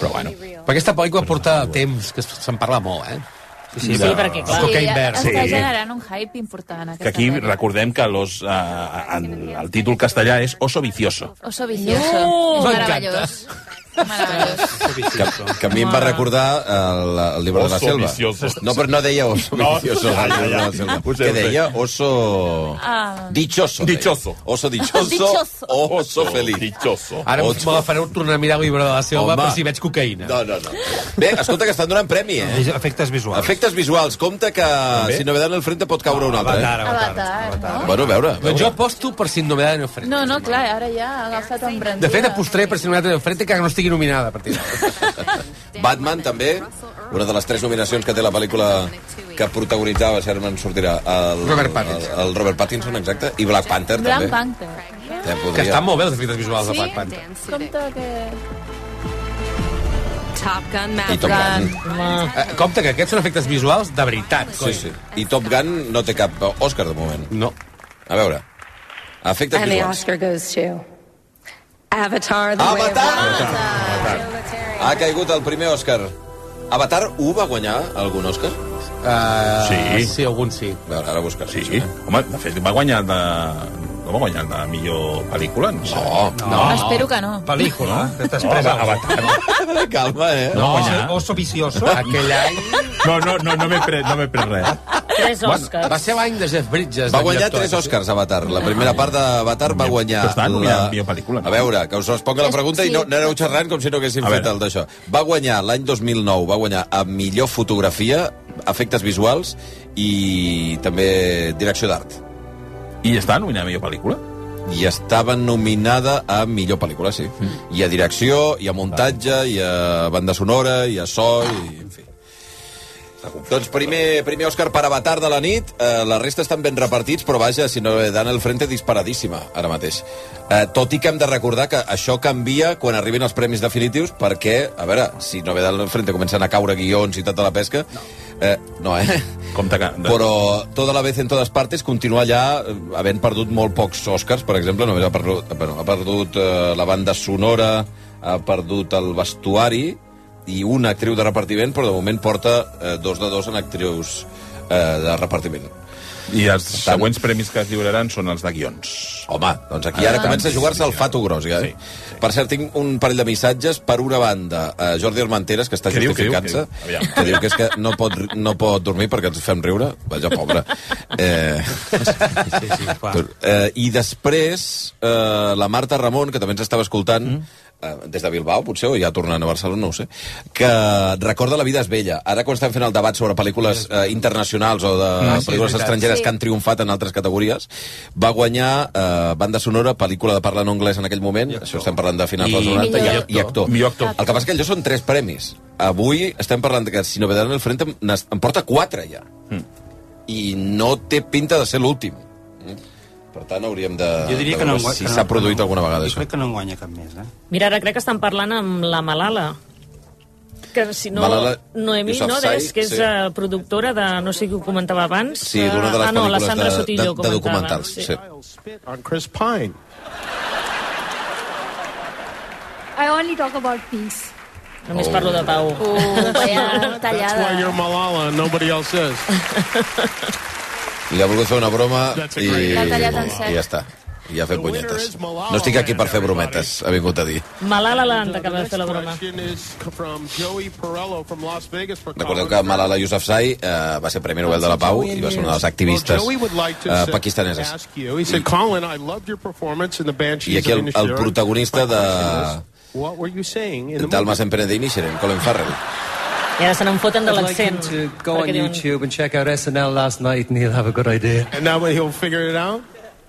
Speaker 4: Però bueno,
Speaker 2: Però aquesta pel·lícula porta temps, que se'n parla molt, eh?
Speaker 8: Sí, sí, perquè, clar,
Speaker 2: Cocaine
Speaker 3: ja
Speaker 2: Bear,
Speaker 3: Està
Speaker 4: sí.
Speaker 3: generant un hype important.
Speaker 4: que aquí
Speaker 3: pel·li.
Speaker 4: recordem que los, eh, en, el títol castellà és Oso Vicioso.
Speaker 3: Oso vicioso.
Speaker 8: No!
Speaker 3: Meravellós. Meravellós.
Speaker 1: Que, que a mi em va recordar eh, el, el llibre de la
Speaker 4: Oso
Speaker 1: selva.
Speaker 4: vicioso.
Speaker 1: No, però no deia oso
Speaker 4: No,
Speaker 1: vicioso.
Speaker 4: ja, ja,
Speaker 1: el llibre de la
Speaker 4: ja.
Speaker 1: selva.
Speaker 4: Ho sé,
Speaker 1: Que
Speaker 4: ho sé.
Speaker 1: deia oso... Dichoso. deia.
Speaker 4: Dichoso.
Speaker 1: Oso dichoso,
Speaker 3: Dichoso.
Speaker 1: o oso feliz.
Speaker 4: Dichoso.
Speaker 2: Ara
Speaker 1: Ocho.
Speaker 2: me la fareu tornar a mirar el llibre de la selva
Speaker 1: Home.
Speaker 2: per si veig cocaïna.
Speaker 1: No, no, no. Bé, escolta, que estan donant premi, eh?
Speaker 5: Efectes visuals.
Speaker 1: Efectes visuals. Compte que si no ve al frente pot caure
Speaker 4: Ah,
Speaker 1: un altre, eh?
Speaker 5: Avatar, Avatar.
Speaker 3: Avatar, no?
Speaker 1: Bueno, a veure. A veure.
Speaker 2: Doncs jo aposto per si novedad en el frente.
Speaker 3: No, no, clar, ara ja ha agafat en Brandí.
Speaker 2: De fet, apostaré per si novedad en el frente que no estigui nominada a partir d'ara.
Speaker 1: Batman, també, una de les tres nominacions que té la pel·lícula que protagonitzava, Sherman sortirà el...
Speaker 2: Robert Pattinson.
Speaker 1: El, el Robert Pattinson, exacte, i Black Panther,
Speaker 3: Black
Speaker 1: també.
Speaker 3: Panther.
Speaker 1: Eh, podria-
Speaker 2: Que estan molt bé els efectes visuals de Black Panther.
Speaker 3: Compte que...
Speaker 11: Top Gun
Speaker 1: I Top Gun.
Speaker 2: Eh, compte que aquests són efectes visuals de veritat.
Speaker 1: Sí,
Speaker 2: coi.
Speaker 1: sí. I Top Gun no té cap Oscar de moment.
Speaker 2: No.
Speaker 1: A veure. Efectes
Speaker 11: And the
Speaker 1: visuals.
Speaker 11: Oscar goes to Avatar. The Way of
Speaker 1: Avatar! Ha caigut el primer Oscar. Avatar 1 va guanyar algun Oscar?
Speaker 2: Uh,
Speaker 4: Sí.
Speaker 2: Sí, alguns sí.
Speaker 1: A veure, ara buscaré.
Speaker 4: Sí,
Speaker 1: això, eh?
Speaker 4: home, de fet, va guanyar el de... No va guanyar el de millor pel·lícula, no sé.
Speaker 1: Oh,
Speaker 5: No.
Speaker 3: Espero que no.
Speaker 5: Pel·lícula, que t'has
Speaker 4: No,
Speaker 5: pres
Speaker 4: Ava-
Speaker 5: a
Speaker 1: <laughs>
Speaker 4: Avatar.
Speaker 1: calma, eh?
Speaker 4: No,
Speaker 5: Oso-
Speaker 4: guanyar.
Speaker 5: Oso vicioso.
Speaker 2: Aquell any
Speaker 4: No, no, no, no m'he pres, no m'he pres res.
Speaker 8: tres Oscars.
Speaker 2: va ser l'any de Jeff Bridges.
Speaker 1: Va
Speaker 2: de
Speaker 1: guanyar
Speaker 2: director. eh?
Speaker 1: tres Oscars, Avatar. La primera part d'Avatar va guanyar...
Speaker 4: Però està nominada
Speaker 1: la...
Speaker 4: a millor pel·lícula, no?
Speaker 1: A veure, que us responga la pregunta i no, no aneu xerrant com si no haguéssim
Speaker 4: A
Speaker 1: fet
Speaker 4: veure.
Speaker 1: el d'això. Va guanyar l'any 2009, va guanyar a millor fotografia, efectes visuals i també direcció d'art.
Speaker 4: I està nominada a millor pel·lícula?
Speaker 1: I estava nominada a millor pel·lícula, sí. I a direcció, i a muntatge, i a banda sonora, i a so, i en fi. Doncs primer, primer Òscar per Avatar de la nit, eh, la resta estan ben repartits, però vaja, si no, eh, Dana al frente disparadíssima, ara mateix. Eh, tot i que hem de recordar que això canvia quan arribin els premis definitius, perquè, a veure, si no ve del frente comencen a caure guions i tota la pesca... No. Eh, no, eh?
Speaker 4: Compte que...
Speaker 1: Però tota la vez en totes partes continua allà eh, havent perdut molt pocs Oscars, per exemple, només ha perdut, bueno, ha perdut eh, la banda sonora, ha perdut el vestuari i una actriu de repartiment, però de moment porta eh, dos de dos en actrius eh, de repartiment.
Speaker 4: I els següents premis que es lliuraran són els de guions.
Speaker 1: Home, doncs Aquí
Speaker 4: Ah.
Speaker 1: ara comença a jugar-se el fato gros, ja. Eh? Per cert, tinc un parell de missatges. Per una banda, a Jordi Armenteres, que està
Speaker 4: Què diu, què diu,
Speaker 1: justificant-se,
Speaker 4: què diu? Aviam.
Speaker 1: que diu que és que no pot, no pot dormir perquè ens fem riure. Vaja,
Speaker 4: <laughs>
Speaker 1: pobre. Eh... Eh, I després, eh, la Marta Ramon, que també ens estava escoltant,
Speaker 2: Mm.
Speaker 1: eh, des de Bilbao, potser, o ja tornant a Barcelona, no ho sé, que recorda La vida és vella. Ara, quan estem fent el debat sobre pel·lícules eh, internacionals o de
Speaker 2: Ah, sí, és
Speaker 1: pel·lícules
Speaker 2: veritat.
Speaker 1: estrangeres
Speaker 2: Sí.
Speaker 1: que han triomfat en altres categories, va guanyar eh, banda sonora, pel·lícula de parla en anglès en aquell moment, això estem parlant de finals
Speaker 2: I-
Speaker 1: dels 90, i,
Speaker 2: Millor
Speaker 1: i, actor.
Speaker 4: Millor actor.
Speaker 1: El que passa és que allò són tres premis. Avui estem parlant de que si no ve en el frente n'es- en porta quatre ja. I no té pinta de ser l'últim. Mm. Per tant, hauríem de,
Speaker 5: Jo diria
Speaker 1: de
Speaker 5: que no
Speaker 1: veure
Speaker 5: en guany-
Speaker 1: si
Speaker 5: que no-
Speaker 1: s'ha produït alguna vegada
Speaker 5: Jo
Speaker 1: això.
Speaker 5: crec que no en guanya cap més, eh?
Speaker 8: Mira, ara crec que estan parlant amb la Malala. Que si no...
Speaker 1: Malala
Speaker 8: Noemí,
Speaker 1: Yousafzai,
Speaker 8: no? Deies que és
Speaker 1: sí.
Speaker 8: sí. productora de... No sé qui ho comentava abans.
Speaker 1: Sí, d'una de les
Speaker 8: ah, no, la
Speaker 1: pel·lícules
Speaker 8: Sandra
Speaker 1: de-
Speaker 8: Sotillo
Speaker 1: de- de
Speaker 8: comentava.
Speaker 1: documentals, sí.
Speaker 7: Uh,
Speaker 12: on Chris Pine.
Speaker 13: I only talk about peace.
Speaker 8: Només parlo de pau.
Speaker 14: Oh.
Speaker 13: Uh, vaya
Speaker 12: That's why
Speaker 13: tallada.
Speaker 12: you're Malala and nobody else
Speaker 8: <laughs>
Speaker 12: is.
Speaker 1: Li ha volgut fer una broma i,
Speaker 8: L'ha tallat en sec.
Speaker 1: i ja està. I ja ha fet punyetes. No estic aquí per fer brometes, ha vingut a dir.
Speaker 8: Malala l'han d'acabar de fer la broma.
Speaker 12: From Joey Perello from Las Vegas for
Speaker 1: Recordeu que Malala Yousafzai eh, va ser Premi Nobel de la Pau i va ser una de les activistes
Speaker 12: Joey would like to
Speaker 1: eh,
Speaker 12: say-
Speaker 1: pakistaneses.
Speaker 12: ask you. He said, Colin, I loved your performance in the Banshees
Speaker 1: I aquí el,
Speaker 12: of
Speaker 1: el
Speaker 12: Inisherin.
Speaker 1: protagonista de
Speaker 12: What were you saying in the movie?
Speaker 1: d'Almas en Pere d'Inisherin, Colin Farrell.
Speaker 8: I ara se n'enfoten de
Speaker 14: I'd like
Speaker 8: l'accent.
Speaker 14: him to go on
Speaker 8: perquè diuen-
Speaker 14: YouTube and check out SNL last night and he'll have a good idea.
Speaker 12: And that way he'll figure it out?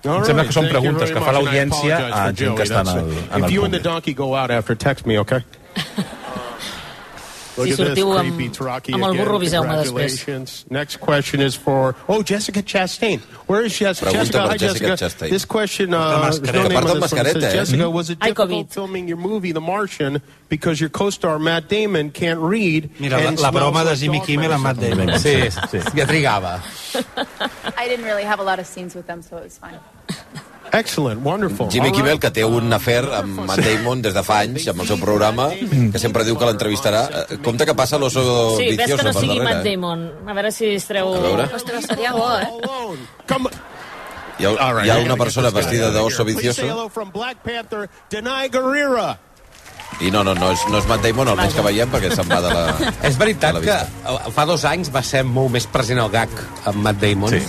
Speaker 4: Em sembla que són preguntes que fa l'audiència a gent que està en el, en
Speaker 12: If
Speaker 4: el
Speaker 12: you and the
Speaker 4: públic.
Speaker 12: donkey go out after, text me, okay? Look
Speaker 8: Si
Speaker 12: at this
Speaker 8: sortiu amb-
Speaker 12: creepy Taraki
Speaker 8: amb el
Speaker 12: again.
Speaker 8: burro, aviseu-me després.
Speaker 12: Congratulations. Next question is for... Oh, Jessica Chastain. Where is Jessica?
Speaker 1: Pregunta
Speaker 12: Jessica,
Speaker 1: per
Speaker 12: hi,
Speaker 1: Jessica Chastain.
Speaker 12: This question... Uh,
Speaker 1: Porta
Speaker 12: there's no
Speaker 1: mascareta. Que
Speaker 12: name
Speaker 1: porta
Speaker 12: on this one. It
Speaker 1: mascareta,
Speaker 12: says,
Speaker 1: eh?
Speaker 12: Jessica,
Speaker 1: Mm.
Speaker 12: was it
Speaker 1: Ai,
Speaker 12: difficult
Speaker 1: Covid.
Speaker 12: filming your movie, The Martian, because your co-star Matt Damon can't read
Speaker 5: Mira, la-
Speaker 12: and
Speaker 5: la
Speaker 12: smells
Speaker 5: broma de
Speaker 12: like
Speaker 5: Jimmy
Speaker 12: dog
Speaker 5: Kimmel amb Matt
Speaker 12: medicine?
Speaker 5: Damon. Sí, sí.
Speaker 2: Ja trigava.
Speaker 3: I didn't really have a lot of scenes with them, so it was fine.
Speaker 12: Excellent, wonderful.
Speaker 1: Jimmy
Speaker 12: All
Speaker 1: Kimmel, que té un afer amb Matt Damon des de fa anys, amb el seu programa, que sempre diu que l'entrevistarà. Eh, Compte que passa l'oso
Speaker 8: Sí, ves
Speaker 1: vicioso
Speaker 8: que no
Speaker 1: per
Speaker 8: sigui Matt
Speaker 1: darrere. eh?
Speaker 8: Damon. A veure si es treu...
Speaker 1: A veure.
Speaker 3: Ostres, seria bo, eh?
Speaker 1: Hi ha, hi ha una persona vestida
Speaker 12: Please
Speaker 1: d'oso
Speaker 12: say
Speaker 1: vicioso
Speaker 12: hello from Black Panther, Denai Guerrera.
Speaker 1: i no, no, no és, no és Matt Damon, almenys que veiem, perquè se'n va de
Speaker 8: <laughs>
Speaker 1: la...
Speaker 2: És veritat
Speaker 1: de la
Speaker 2: que
Speaker 1: vista.
Speaker 2: eh, fa dos anys va ser molt més present el gag amb Matt Damon sí.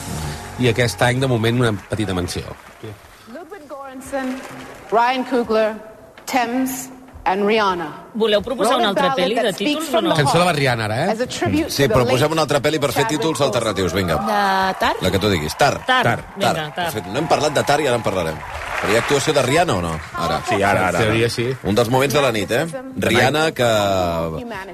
Speaker 2: i aquest any, de moment, una petita menció.
Speaker 15: Ludwig Göransson, Ryan Coogler, Thames, and Rihanna.
Speaker 8: Voleu proposar una altra pel·li de títols o no?
Speaker 2: Cançó de la Rihanna, ara, eh?
Speaker 1: Sí, però posem una altra pel·li per fer títols alternatius, vinga.
Speaker 3: De Tar?
Speaker 1: La que tu diguis. Tar.
Speaker 3: Tar. Vinga,
Speaker 1: Tar.
Speaker 3: Tar.
Speaker 1: De fet, no hem parlat de Tar i ara en parlarem. Però hi ha actuació de Rihanna o no? Ara.
Speaker 4: Sí, ara, ara. En teoria,
Speaker 2: sí.
Speaker 1: Un dels moments de la nit, eh? Rihanna, que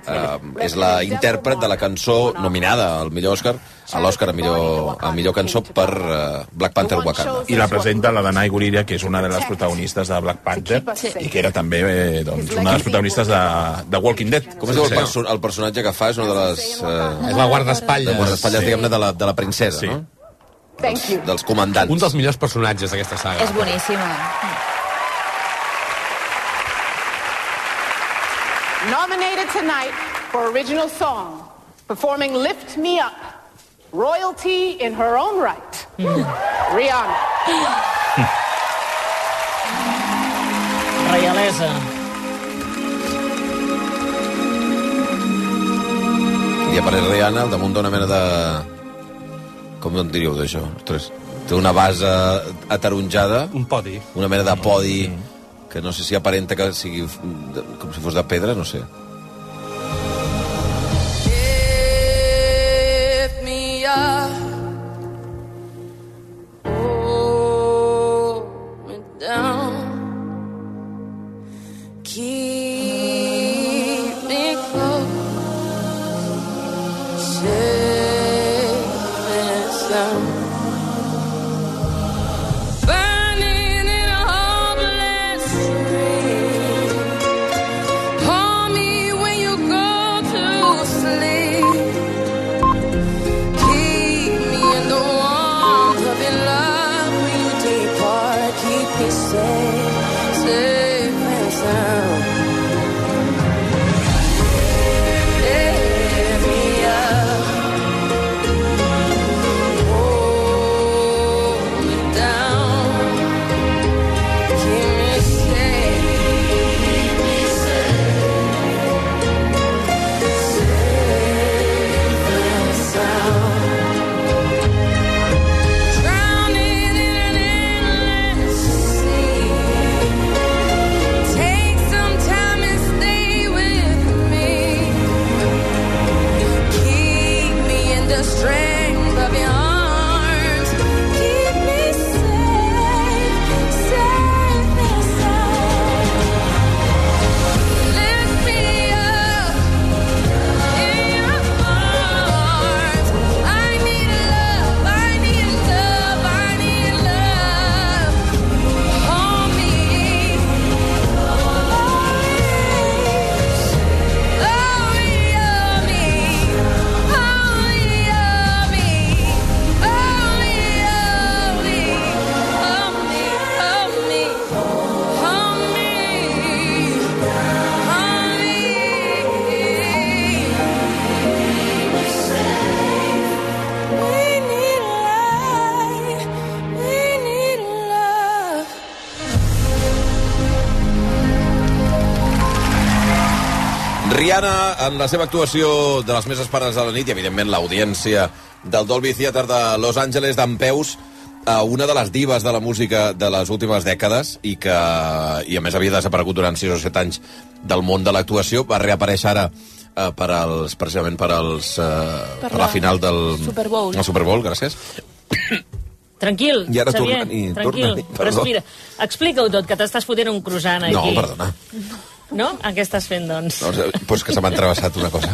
Speaker 1: eh, és la intèrpret de la cançó nominada al millor Òscar, a l'Òscar a millor, a millor cançó per eh, Black Panther Wakanda.
Speaker 4: I la presenta la Danai Gurira, que és una de les protagonistes de Black Panther,
Speaker 1: Sí.
Speaker 4: i que era també eh, doncs, una de les protagonistes de, de Walking Dead.
Speaker 1: Com es diu el, perso el personatge que fa? És una de les... Eh,
Speaker 2: És la guardaespatlles.
Speaker 1: La guardaespatlles,
Speaker 2: Sí.
Speaker 1: diguem-ne, de la, de la princesa, sí. no?
Speaker 13: Thank you.
Speaker 1: Dels comandants.
Speaker 2: Un dels millors personatges d'aquesta saga.
Speaker 13: És boníssima.
Speaker 15: Nominated tonight for original song, performing Lift Me Up, royalty in her own right, Rihanna.
Speaker 8: Reialesa.
Speaker 1: I apareix Rihanna al damunt d'una mena de... Com en diríeu d'això? Ostres, té una base ataronjada. Un
Speaker 5: podi.
Speaker 1: Una mena de podi que no sé si aparenta que sigui mm, de- com si fos de pedra, no sé.
Speaker 16: Lift me up. Hold me down. Keep me close. Shelter
Speaker 1: Rihanna, en la seva actuació de les més esperades de la nit, i evidentment l'audiència del Dolby Theater de Los Angeles d'en peus a una de les divas de la música de les últimes dècades i que, i a més, havia desaparegut durant 6 o 7 anys del món de l'actuació, va reaparèixer ara eh, per als, precisament per, als, eh, per,
Speaker 8: Per
Speaker 1: la,
Speaker 8: la
Speaker 1: final del
Speaker 8: Super Bowl.
Speaker 1: El Super Bowl, gràcies.
Speaker 8: Tranquil,
Speaker 1: I ara
Speaker 8: Xavier,
Speaker 1: torna-n'hi,
Speaker 8: tranquil.
Speaker 1: torna-n'hi, perdó.
Speaker 8: Respira. Explica-ho tot, que t'estàs fotent un croissant aquí.
Speaker 1: No, perdona.
Speaker 8: No? Ah, Què estàs fent, doncs?
Speaker 1: No, pues que se m'ha entrevessat una cosa.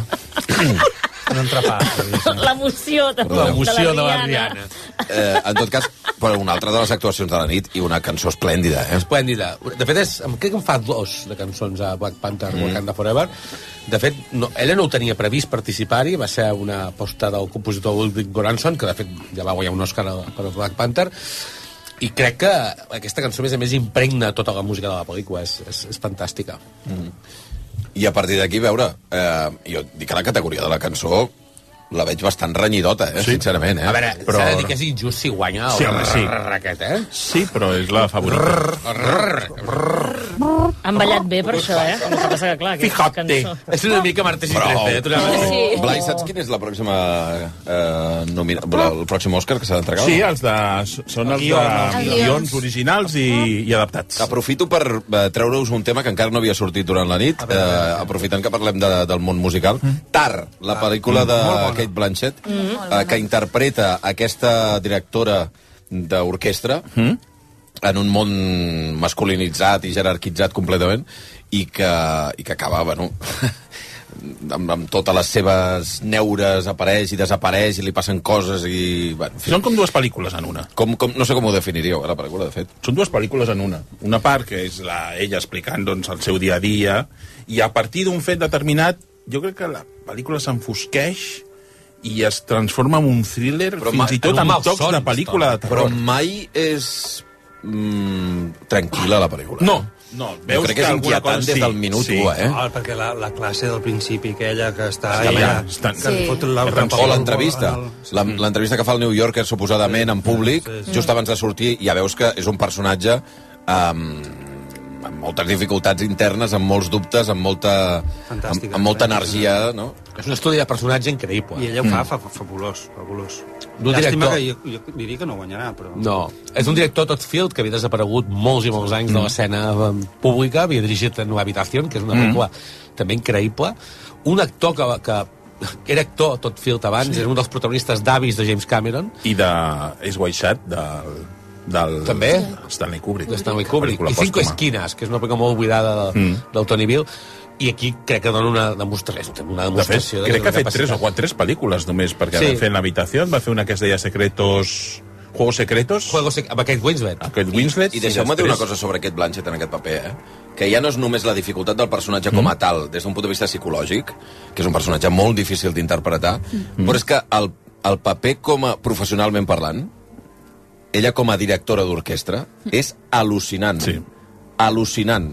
Speaker 2: Un
Speaker 1: <laughs>
Speaker 2: entrepà.
Speaker 8: <laughs> L'emoció de, de,
Speaker 2: L'emoció
Speaker 8: de la Rihanna.
Speaker 2: Rihanna.
Speaker 1: Eh, en tot cas, però una altra de les actuacions de la nit i una cançó esplèndida, eh?
Speaker 2: Esplèndida. De fet, és, em- crec que en fa dos de cançons a Black Panther, mm. Wakanda Forever. De fet, no, ella no ho tenia previst participar-hi, va ser una aposta del compositor Ulrich Goranson, que de fet ja va guanyar un Oscar a- per Black Panther, i crec que aquesta cançó, a més a més, impregna tota la música de la pel·lícula. És, és, és fantàstica.
Speaker 1: I a partir d'aquí, a veure, eh, jo dic que la categoria de la cançó la veig bastant renyidota, eh, sí. sincerament. Eh?
Speaker 2: A veure, però... s'ha de dir que és injust si guanya el
Speaker 1: Sí, home, sí.
Speaker 2: Aquest, eh?
Speaker 4: Sí, però és la favorita.
Speaker 8: Han ballat bé per això, eh? El que passa que, clar, aquesta cançó...
Speaker 2: És una mica Martes i Trece.
Speaker 1: Però,
Speaker 8: Sí.
Speaker 1: Blai, saps quin és la pròxima, eh, nomina... el pròxim Òscar que s'ha d'entregar?
Speaker 4: Sí, els de, són els de
Speaker 1: Guions.
Speaker 4: guions originals i, i adaptats.
Speaker 1: Aprofito per eh, treure-us un tema que encara no havia sortit durant la nit, eh, aprofitant que parlem de, del món musical. Tar, la pel·lícula de Kate Blanchett, eh, que interpreta aquesta directora d'orquestra en un món masculinitzat i jerarquitzat completament i que, i que acaba, bueno, <laughs> amb, amb totes les seves neures apareix i desapareix i li passen coses i... Bueno, en fi.
Speaker 4: Són com dues pel·lícules en una.
Speaker 1: Com, com, no sé com ho definiríeu, eh, la pel·lícula, de fet.
Speaker 4: Són dues pel·lícules en una. Una part que és la, ella explicant doncs, el seu dia a dia i a partir d'un fet determinat jo crec que la pel·lícula s'enfosqueix i es transforma en un thriller però fins i tot amb tocs de pel·lícula de terror.
Speaker 1: Però mai és mm, tranquil·la la pel·lícula.
Speaker 4: No, no,
Speaker 1: veus crec que és que alguna inquietant cosa des sí, del minut sí. u, eh?
Speaker 5: No, Ah, perquè la, la classe del principi, aquella que està...
Speaker 1: Està
Speaker 5: allà,
Speaker 1: bé.
Speaker 5: que li fot la,
Speaker 1: O l'entrevista. La- L'entrevista que fa el New Yorker, suposadament, en públic, just abans de sortir, ja veus que és un personatge amb, amb moltes dificultats internes, amb molts dubtes, amb molta, amb, amb molta energia, no?
Speaker 2: És un estudi de personatge increïble.
Speaker 5: I ella ho fa, fa, fa fabulós, fabulós.
Speaker 2: D'un
Speaker 5: Llàstima
Speaker 2: director-
Speaker 5: que jo, jo diria que no guanyarà, però...
Speaker 2: No. És un director, Todd Field, que havia desaparegut molts i molts anys
Speaker 5: Mm.
Speaker 2: de l'escena eh, pública, havia dirigit en l'habitació, que és una
Speaker 4: Mm.
Speaker 2: pel·lícula també increïble. Un actor que, que, que <laughs> era actor, Todd Field, abans,
Speaker 4: Sí.
Speaker 2: era un dels protagonistes d'Avis de James Cameron.
Speaker 4: I de... és guaixat del... del
Speaker 2: També?
Speaker 4: Stanley Kubrick.
Speaker 2: de Stanley Kubrick.
Speaker 4: Pel·lícula
Speaker 2: I Cinco
Speaker 4: pòstuma.
Speaker 2: Esquinas, que és una pel·lícula molt oblidada de,
Speaker 4: Mm.
Speaker 2: mm. del Tony Bill. I aquí crec que dona una demostració. Una
Speaker 4: De fet,
Speaker 2: demostració
Speaker 4: crec que ha fet
Speaker 2: capacitat.
Speaker 4: tres o quatre tres pel·lícules només, perquè
Speaker 2: Sí.
Speaker 4: sí. va fer en l'habitació, va fer una que es deia Secretos... Juegos Secretos.
Speaker 2: Juegos Secretos, amb aquest Winslet.
Speaker 4: Aquest Winslet.
Speaker 1: I deixeu-me dir una
Speaker 4: després-
Speaker 1: cosa sobre aquest Blanchett en aquest paper, eh? que ja no és només la dificultat del personatge com a tal, des d'un punt de vista psicològic, que és un personatge molt difícil d'interpretar, però és que el, el paper com a professionalment parlant, ella com a directora d'orquestra, és al·lucinant. Sí. Al·lucinant.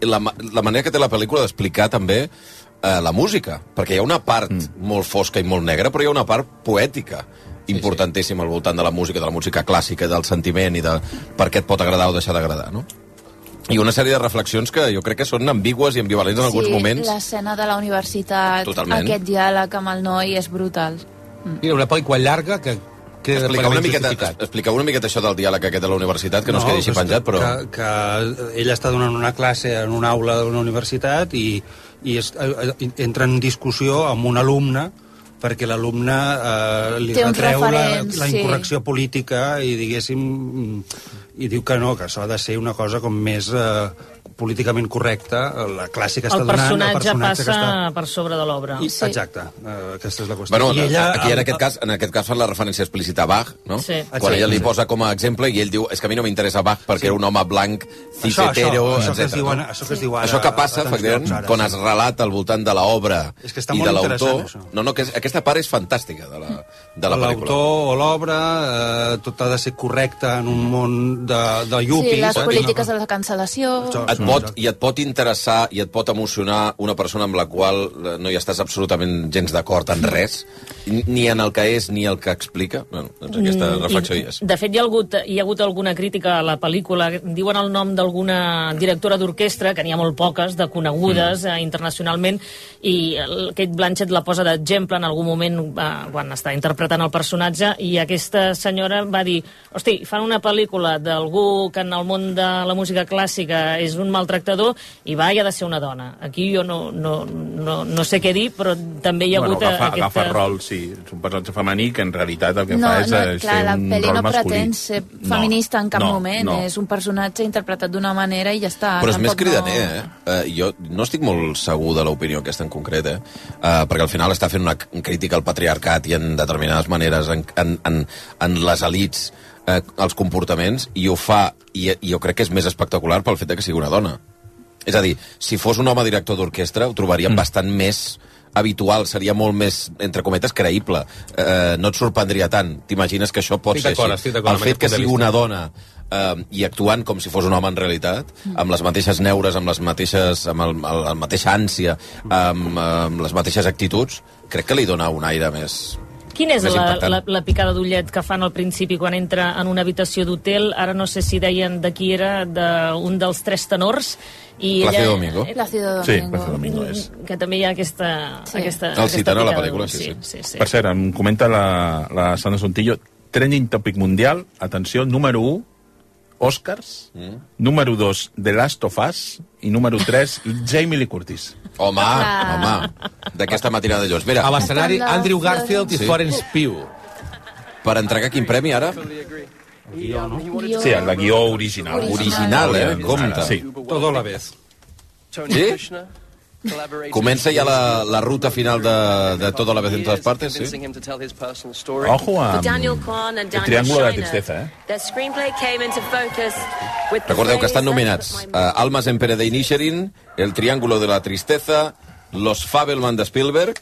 Speaker 1: La, ma- la manera que té la pel·lícula d'explicar també eh, la música, perquè hi ha una part mm. molt fosca i molt negra, però hi ha una part poètica importantíssima al voltant de la música, de la música clàssica, del sentiment i de per què et pot agradar o deixar d'agradar, no? I una sèrie de reflexions que jo crec que són ambigües i ambivalents en alguns
Speaker 17: sí,
Speaker 1: moments.
Speaker 17: l'escena de la universitat,
Speaker 1: Totalment.
Speaker 17: aquest diàleg amb el noi és brutal.
Speaker 2: Mira, una pel·lícula llarga que queda
Speaker 1: Explica una, miqueta, explica una miqueta això del diàleg aquest de la universitat, que no, no es quedi així
Speaker 5: que
Speaker 1: penjat, però...
Speaker 5: Que, que ella està donant una classe en una aula d'una universitat i, i es, eh, eh, entra en discussió amb un alumne perquè l'alumne eh, li
Speaker 17: Té uns
Speaker 5: retreu la,
Speaker 17: referents,
Speaker 5: la
Speaker 17: sí.
Speaker 5: incorrecció política i diguéssim mm, i diu que no, que això ha de ser una cosa com més eh, políticament correcta, eh, la classe que està
Speaker 8: El
Speaker 5: donant,
Speaker 8: personatge,
Speaker 5: el personatge
Speaker 8: passa
Speaker 5: que està...
Speaker 8: per sobre de l'obra.
Speaker 5: I, Exacte, eh, aquesta és la qüestió.
Speaker 1: Bueno,
Speaker 5: I
Speaker 1: ella, aquí en
Speaker 5: amb-
Speaker 1: aquest cas en aquest cas fan la referència explícita a Bach, no?
Speaker 5: Sí. Ah,
Speaker 1: Quan
Speaker 5: sí.
Speaker 1: ella li
Speaker 5: Sí.
Speaker 1: posa com a exemple i ell diu, és que a mi no m'interessa Bach perquè era un home blanc,
Speaker 5: això,
Speaker 1: cisetero,
Speaker 5: això, que es
Speaker 1: etcètera,
Speaker 5: diuen,
Speaker 1: no?
Speaker 5: això que es diu ara...
Speaker 1: Això que passa,
Speaker 5: atenció,
Speaker 1: efectivament,
Speaker 5: ara,
Speaker 1: quan
Speaker 5: sí.
Speaker 1: es relata al voltant de l'obra
Speaker 5: És que està
Speaker 1: i
Speaker 5: molt
Speaker 1: de l'autor...
Speaker 5: interessant, això.
Speaker 1: No, no, que és, aquesta part és fantàstica de la, de la pel·lícula.
Speaker 5: L'autor o l'obra, eh, tot ha de ser correcte en un món de, de
Speaker 17: sí,
Speaker 5: yuppies. doncs,
Speaker 17: les polítiques de la cancel·lació...
Speaker 1: Et pot, I et pot interessar i et pot emocionar una persona amb la qual eh, no hi estàs absolutament gens d'acord en res, ni en el que és ni el que explica. Bueno, doncs aquesta
Speaker 8: Mm,
Speaker 1: reflexió hi
Speaker 8: i,
Speaker 1: és.
Speaker 8: De fet, hi ha, hagut, hi ha hagut alguna crítica a la pel·lícula. Diuen el nom d'alguna directora d'orquestra, que n'hi ha molt poques, de
Speaker 4: Mm.
Speaker 8: conegudes eh, internacionalment, i el- Kate Blanchett la posa d'exemple en algun moment eh, quan està interpretant el personatge, i aquesta senyora va dir hosti, fan una pel·lícula d'algú que en el món de la música clàssica és un maltractador, i va, hi ha de ser una dona. Aquí jo no, no, no, no sé què dir, però també hi ha
Speaker 4: bueno,
Speaker 8: hagut eh,
Speaker 4: agafa,
Speaker 8: aquesta...
Speaker 4: agafa rol, sí. És un personatge femení que en realitat el que
Speaker 17: No,
Speaker 4: fa és
Speaker 17: no,
Speaker 4: eh,
Speaker 17: clar,
Speaker 4: ser
Speaker 17: la
Speaker 4: un
Speaker 17: pel·li
Speaker 4: rol
Speaker 17: no
Speaker 4: masculí.
Speaker 17: pretén ser feminista en cap
Speaker 1: no,
Speaker 17: moment.
Speaker 1: no.
Speaker 17: És un personatge interpretat d'una manera i ja està.
Speaker 1: Però és més
Speaker 17: Tampoc
Speaker 1: cridaner, eh? eh? Jo no estic molt segur de l'opinió aquesta en concret, eh? eh? Perquè al final està fent una c- crítica al patriarcat i en determinades maneres, en, en, en, en les elites, eh, els comportaments, i ho fa, i, i jo crec que és més espectacular pel fet de que sigui una dona. És a dir, si fos un home director d'orquestra ho trobaríem mm. bastant més habitual, seria molt més, entre cometes, creïble. Eh, no et sorprendria tant. T'imagines que això pot
Speaker 2: Estic
Speaker 1: ser
Speaker 2: d'acord,
Speaker 1: així.
Speaker 2: estic d'acord
Speaker 1: El
Speaker 2: amb
Speaker 1: fet
Speaker 2: aquest
Speaker 1: que
Speaker 2: punt de
Speaker 1: sigui
Speaker 2: vista.
Speaker 1: una dona eh, i actuant com si fos un home en realitat, amb les mateixes neures, amb les mateixes amb el, el, la mateixa ànsia, amb, eh, amb les mateixes actituds, crec que li dona un aire més...
Speaker 8: Quina és
Speaker 1: Més
Speaker 8: la,
Speaker 1: impactant.
Speaker 8: la, la picada d'ullet que fan al principi quan entra en una habitació d'hotel? Ara no sé si deien de qui era, d'un dels tres tenors. I
Speaker 1: Plácido Domingo.
Speaker 17: Plácido
Speaker 4: Sí, Plácido Domingo és.
Speaker 8: Que també hi ha aquesta... Sí. aquesta
Speaker 4: El cita, no, la
Speaker 8: picada
Speaker 4: pel·lícula,
Speaker 8: d'ullet.
Speaker 4: sí,
Speaker 8: sí. sí,
Speaker 4: Per cert, em comenta la, la Sandra Sontillo, trending topic mundial, atenció, número 1, Oscars, mm. número 2, The Last of Us, i número 3, Jamie Lee Curtis.
Speaker 1: Home, home, d'aquesta matinada de llocs. Mira,
Speaker 2: A l'escenari, Andrew Garfield i Florence Pugh.
Speaker 1: Per entregar quin premi, ara?
Speaker 4: Sí, el guió original.
Speaker 1: Original, eh? Compte.
Speaker 4: Sí.
Speaker 5: Todo a la vez.
Speaker 1: Sí? Comença ja la, la ruta final de, de tota la vez en totes partes, sí?
Speaker 4: Ojo a...
Speaker 18: For Daniel Kwan and
Speaker 4: El
Speaker 18: Daniel
Speaker 4: triángulo de la
Speaker 18: Schreiner,
Speaker 4: tristeza, eh?
Speaker 18: Their screenplay came into focus with the
Speaker 1: Recordeu que estan
Speaker 18: phrase,
Speaker 1: nominats uh, Almas en Pere de Inisherin, El Triángulo de la Tristeza, Los Fabelman de Spielberg,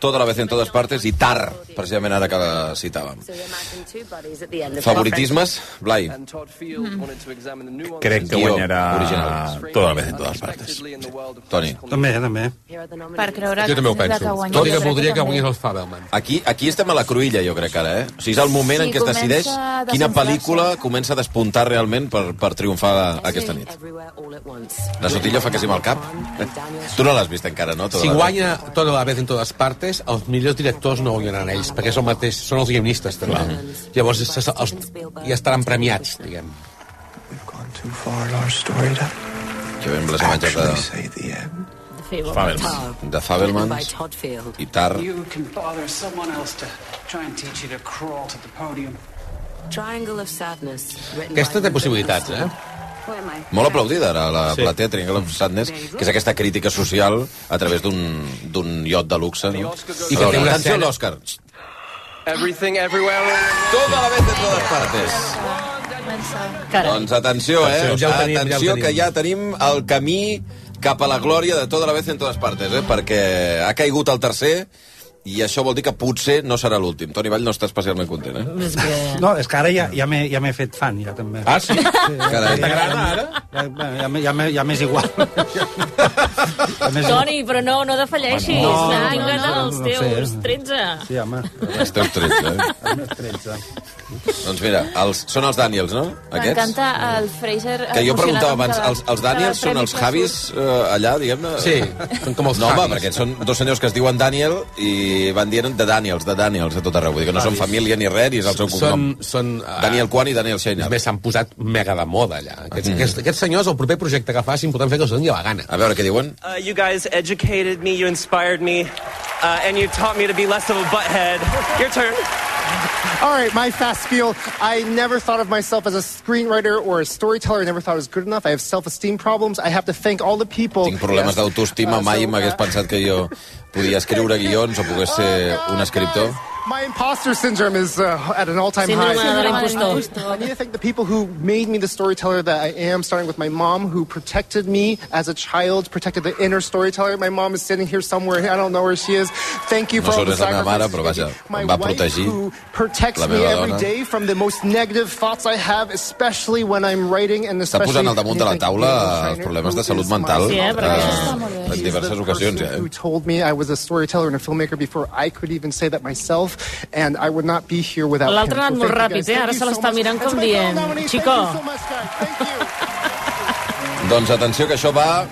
Speaker 1: Tota la vez en totes partes i Tar, precisament ara que la citàvem.
Speaker 18: "So imagine two buddies at the end of
Speaker 1: Favoritismes, Blai.
Speaker 4: Crec que
Speaker 1: Guió
Speaker 4: guanyarà
Speaker 1: original.
Speaker 4: tota la vez en totes partes.
Speaker 1: Toni.
Speaker 5: També, també.
Speaker 17: Per creure
Speaker 2: Jo també ho
Speaker 17: és la
Speaker 2: penso.
Speaker 17: que guanya.
Speaker 2: Tot i
Speaker 17: Jo
Speaker 2: que
Speaker 17: crec
Speaker 2: voldria que
Speaker 17: també.
Speaker 2: guanyés el Fabelman.
Speaker 1: Aquí, aquí estem a la cruïlla, jo crec, ara, eh? O sigui, és el moment
Speaker 17: Sí,
Speaker 1: en què es
Speaker 17: comença
Speaker 1: decideix
Speaker 17: a
Speaker 1: quina
Speaker 17: desinflar-se.
Speaker 1: pel·lícula comença a despuntar realment per, per triomfar aquesta nit. La Sotilla fa que sí amb el cap. Eh? Tu no l'has vist encara, no? Tota
Speaker 2: Si
Speaker 1: la-
Speaker 2: guanya tot a la vez en totes partes, els millors directors no guanyaran ells, perquè són, mateix, són els guionistes, també.
Speaker 5: Mm-hmm.
Speaker 2: Llavors se, se- els, ja estaran premiats, diguem.
Speaker 1: Jo veiem les imatges de,
Speaker 8: sí.
Speaker 1: Fabelman. de Fabelman i Tar.
Speaker 19: You can bother someone else to try and teach you to crawl to the podium.
Speaker 18: Triangle of Sadness. written
Speaker 2: Aquesta
Speaker 18: by
Speaker 2: té possibilitats, eh?
Speaker 18: Where am I?
Speaker 1: Molt aplaudida, ara, la, sí. la Teatri of Sadness, que és aquesta crítica social a través d'un d'un iot de luxe, no?
Speaker 2: I
Speaker 1: I
Speaker 2: que
Speaker 1: que
Speaker 2: té una
Speaker 1: Atenció a
Speaker 2: escena-
Speaker 1: l'Òscar.
Speaker 19: Everything, everywhere.
Speaker 1: Tota la vez de totes partes.
Speaker 8: Carai.
Speaker 1: Doncs atenció, eh?
Speaker 2: Atenció, ja ho tenim, ja ho
Speaker 1: atenció
Speaker 2: tenim.
Speaker 1: que ja tenim el camí cap a la glòria de tota la vez en totes partes, eh? Perquè ha caigut el tercer i això vol dir que potser no serà l'últim. Toni Vall no està especialment content, eh?
Speaker 5: No, és que ara ja, ja m'he ja m'he fet fan, ja, també.
Speaker 1: Ah, sí? Carai.
Speaker 5: T'agrada, ara? Ja, ja, m'he- ja, m'he- ja m'és igual. ja m'és igual.
Speaker 8: Toni, però no, no defalleixis.
Speaker 5: Bueno, no,
Speaker 8: no,
Speaker 5: no,
Speaker 8: tingues
Speaker 5: no, no,
Speaker 8: els
Speaker 5: no sé. eh?
Speaker 8: teus 13.
Speaker 5: Sí, home.
Speaker 1: Esteu trets, eh?
Speaker 5: Més 13.
Speaker 1: Doncs mira, els, són els Daniels, no? Aquests?
Speaker 17: M'encanta el Fraser...
Speaker 1: Que jo
Speaker 17: emocionat
Speaker 1: preguntava
Speaker 17: amb
Speaker 1: abans,
Speaker 17: cada-
Speaker 1: els, els
Speaker 17: cada
Speaker 1: Daniels són
Speaker 17: premi
Speaker 1: els
Speaker 17: que
Speaker 1: Javis
Speaker 17: surt.
Speaker 1: eh, allà, diguem-ne?
Speaker 2: Sí, són com els
Speaker 1: No, home,
Speaker 2: Javis.
Speaker 1: perquè són dos senyors que es diuen Daniel i van dient de Daniels, de Daniels, a tot arreu. Vull dir que no són
Speaker 2: Javis.
Speaker 1: família ni res, ni és el seu
Speaker 2: Són,
Speaker 1: cognom.
Speaker 2: són, eh,
Speaker 1: Daniel Kwan i Daniel
Speaker 2: A
Speaker 1: Sheiner.
Speaker 2: més, s'han posat mega de moda, allà. Aquests, aquests, aquests senyors, el proper projecte que facin, podran fer que els doni la gana.
Speaker 1: A veure què diuen.
Speaker 20: Uh, you guys educated me, you inspired me, uh, and you taught me to be less of a butthead. Your turn.
Speaker 21: All right, my fast spiel. I never thought of myself as a screenwriter or a storyteller. I never thought I was good enough. I have self-esteem problems. I have to thank all the people.
Speaker 1: Tinc problemes d'autoestima, mai m'hagués pensat que jo podia escriure guions o pogués ser un escriptor.
Speaker 21: My imposter syndrome is uh, at an all-time
Speaker 8: Síndrome
Speaker 21: high.
Speaker 8: del
Speaker 21: I need to thank the people who made me the storyteller that I am, starting with my mom, who protected me as a child, protected the inner storyteller. My mom is sitting here somewhere. I don't know where she is. Thank you
Speaker 1: No
Speaker 21: for all
Speaker 1: sóc
Speaker 21: the
Speaker 1: la meva mare,
Speaker 21: sacrifices.
Speaker 1: però vaja,
Speaker 21: My
Speaker 1: em va
Speaker 21: wife
Speaker 1: protegir.
Speaker 21: who protects
Speaker 1: La
Speaker 21: me
Speaker 1: meva
Speaker 21: every
Speaker 1: dona.
Speaker 21: day from the most negative thoughts I have, especially when I'm writing and
Speaker 1: Està
Speaker 21: especially...
Speaker 1: posant al damunt de la taula els problemes de salut mental
Speaker 21: Sí, eh, perquè això està
Speaker 1: eh, en diverses ocasions.
Speaker 21: who
Speaker 1: Eh?
Speaker 21: told me I was a storyteller and a filmmaker before I could even say that myself, and I would not be here without him.
Speaker 8: L'altre ha anat
Speaker 21: So
Speaker 8: molt
Speaker 21: thank you guys.
Speaker 8: ràpid, eh? Ara se l'està mirant com dient... Xicó,
Speaker 1: <laughs> Doncs atenció, que això va...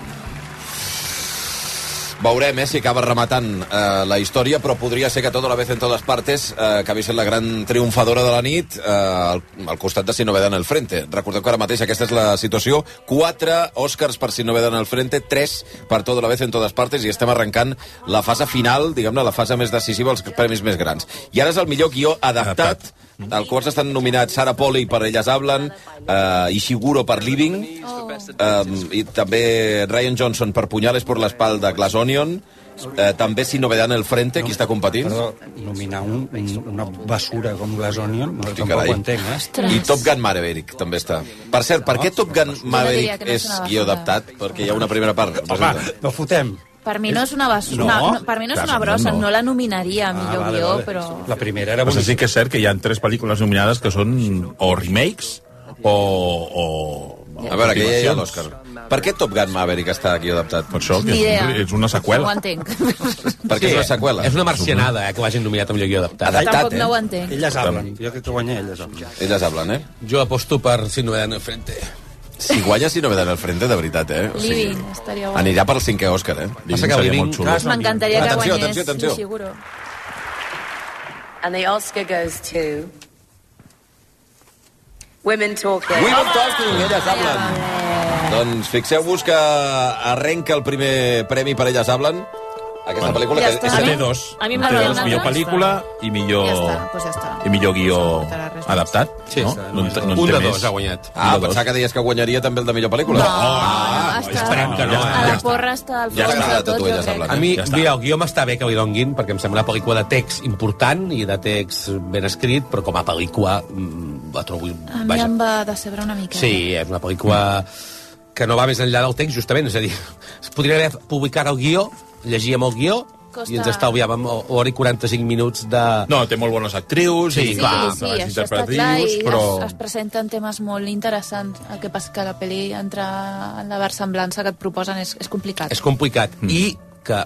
Speaker 1: Veurem eh, si acaba rematant eh, la història, però podria ser que tota la vez en todas partes eh, acabi sent la gran triomfadora de la nit eh, al, al costat de Si no en el frente. Recordeu que ara mateix aquesta és la situació. Quatre Oscars per Si no en el frente, tres per tota la vez en todas partes i estem arrencant la fase final, diguem-ne, la fase més decisiva, els premis més grans. I ara és el millor guió adaptat, al quals estan nominats Sara Poli per Elles Hablen, eh, Ishiguro per Living, Um, I també Ryan Johnson per Punyales por l'espalda, Glass Onion, eh, també Si Novedad en el Frente, qui està competint,
Speaker 5: Perdó, nominar un, un, una basura com Glass Onion, no, tampoc
Speaker 1: carai.
Speaker 5: ho entenc, eh?
Speaker 1: i Top Gun Maverick també està. Per cert, per què Top Gun Maverick és guió adaptat? Perquè hi ha una primera part.
Speaker 5: Home, no fotem.
Speaker 17: Per mi no és una basura,
Speaker 5: No.
Speaker 17: no, no, per mi no és
Speaker 4: Clar,
Speaker 17: una brossa,
Speaker 4: no.
Speaker 17: no, la nominaria a
Speaker 4: Ah,
Speaker 17: millor
Speaker 4: vale,
Speaker 17: guió,
Speaker 4: vale.
Speaker 17: però...
Speaker 5: La primera era...
Speaker 4: O sigui, sí que és cert que hi ha tres pel·lícules nominades que són o remakes o... o
Speaker 1: A veure, aquella ja hi ha l'Òscar. Per què Top Gun Maverick està aquí adaptat?
Speaker 4: Per això,
Speaker 17: Ni idea. No ho entenc.
Speaker 1: Perquè és una seqüela.
Speaker 2: És una marcianada, eh, que l'hagin nominat a millor guió adaptat.
Speaker 1: eh?
Speaker 17: Tampoc no ho entenc.
Speaker 5: Elles hablen. Jo crec que guanya elles hablen.
Speaker 1: Elles hablen, eh?
Speaker 2: Jo aposto per Si no en el frente.
Speaker 1: Si guanya Si Novedad en el Frente, de veritat, eh? O sigui,
Speaker 17: Living, estaria guai.
Speaker 1: anirà pel cinquè Òscar, eh?
Speaker 2: Passa que
Speaker 1: Seria
Speaker 2: Living-
Speaker 1: molt xulo.
Speaker 2: Clar, és una
Speaker 17: M'encantaria que
Speaker 1: Atenció,
Speaker 17: guanyés,
Speaker 1: atenció, atenció.
Speaker 17: Ishiguro.
Speaker 18: And the Oscar goes to Women Talking.
Speaker 1: Women Talking, elles hablen. Doncs fixeu-vos que arrenca el primer premi per Elles Hablen, aquesta pel·lícula
Speaker 17: Ja
Speaker 1: que
Speaker 17: està.
Speaker 1: és
Speaker 4: Té dos.
Speaker 17: A mi
Speaker 4: Té
Speaker 17: m'agrada
Speaker 4: dos,
Speaker 17: una
Speaker 4: millor
Speaker 17: altra.
Speaker 4: pel·lícula i millor...
Speaker 17: Ja està, doncs ja està.
Speaker 4: Oh. I millor guió adaptat,
Speaker 2: Sí,
Speaker 4: no?
Speaker 2: està,
Speaker 4: No, en té- no en
Speaker 2: Un
Speaker 4: té
Speaker 2: de
Speaker 4: més.
Speaker 2: dos ha guanyat.
Speaker 1: Ah, pensava que deies que guanyaria també el de millor pel·lícula.
Speaker 17: Ah, està,
Speaker 2: Esperem que no.
Speaker 17: a la porra està al
Speaker 1: Ja
Speaker 17: fons
Speaker 1: està,
Speaker 17: de tot,
Speaker 1: Tatuelles
Speaker 17: jo crec.
Speaker 1: Hablen.
Speaker 2: A mi,
Speaker 1: Ja està.
Speaker 2: mira, el guió m'està bé que li donguin, perquè em sembla una pel·lícula de text important i de text ben escrit, però com a pel·lícula mm, la trobo...
Speaker 17: A mi
Speaker 2: Vaja,
Speaker 17: em va decebre una mica.
Speaker 2: Sí, és una pel·lícula que no va més enllà del text, justament. És a dir, es podria haver publicat el guió, llegíem el guió,
Speaker 17: Costa-
Speaker 2: i ens estalviàvem o- hora i 45 minuts de...
Speaker 4: No, té molt bones actrius
Speaker 2: Sí,
Speaker 4: i
Speaker 2: sí,
Speaker 4: clar,
Speaker 17: sí,
Speaker 4: treballs
Speaker 17: això està clar i
Speaker 4: interpretatius, però...
Speaker 17: es, es presenten temes molt interessants. El que passa que la pel·li entra en la versemblança que et proposen és, és complicat.
Speaker 2: És complicat. I que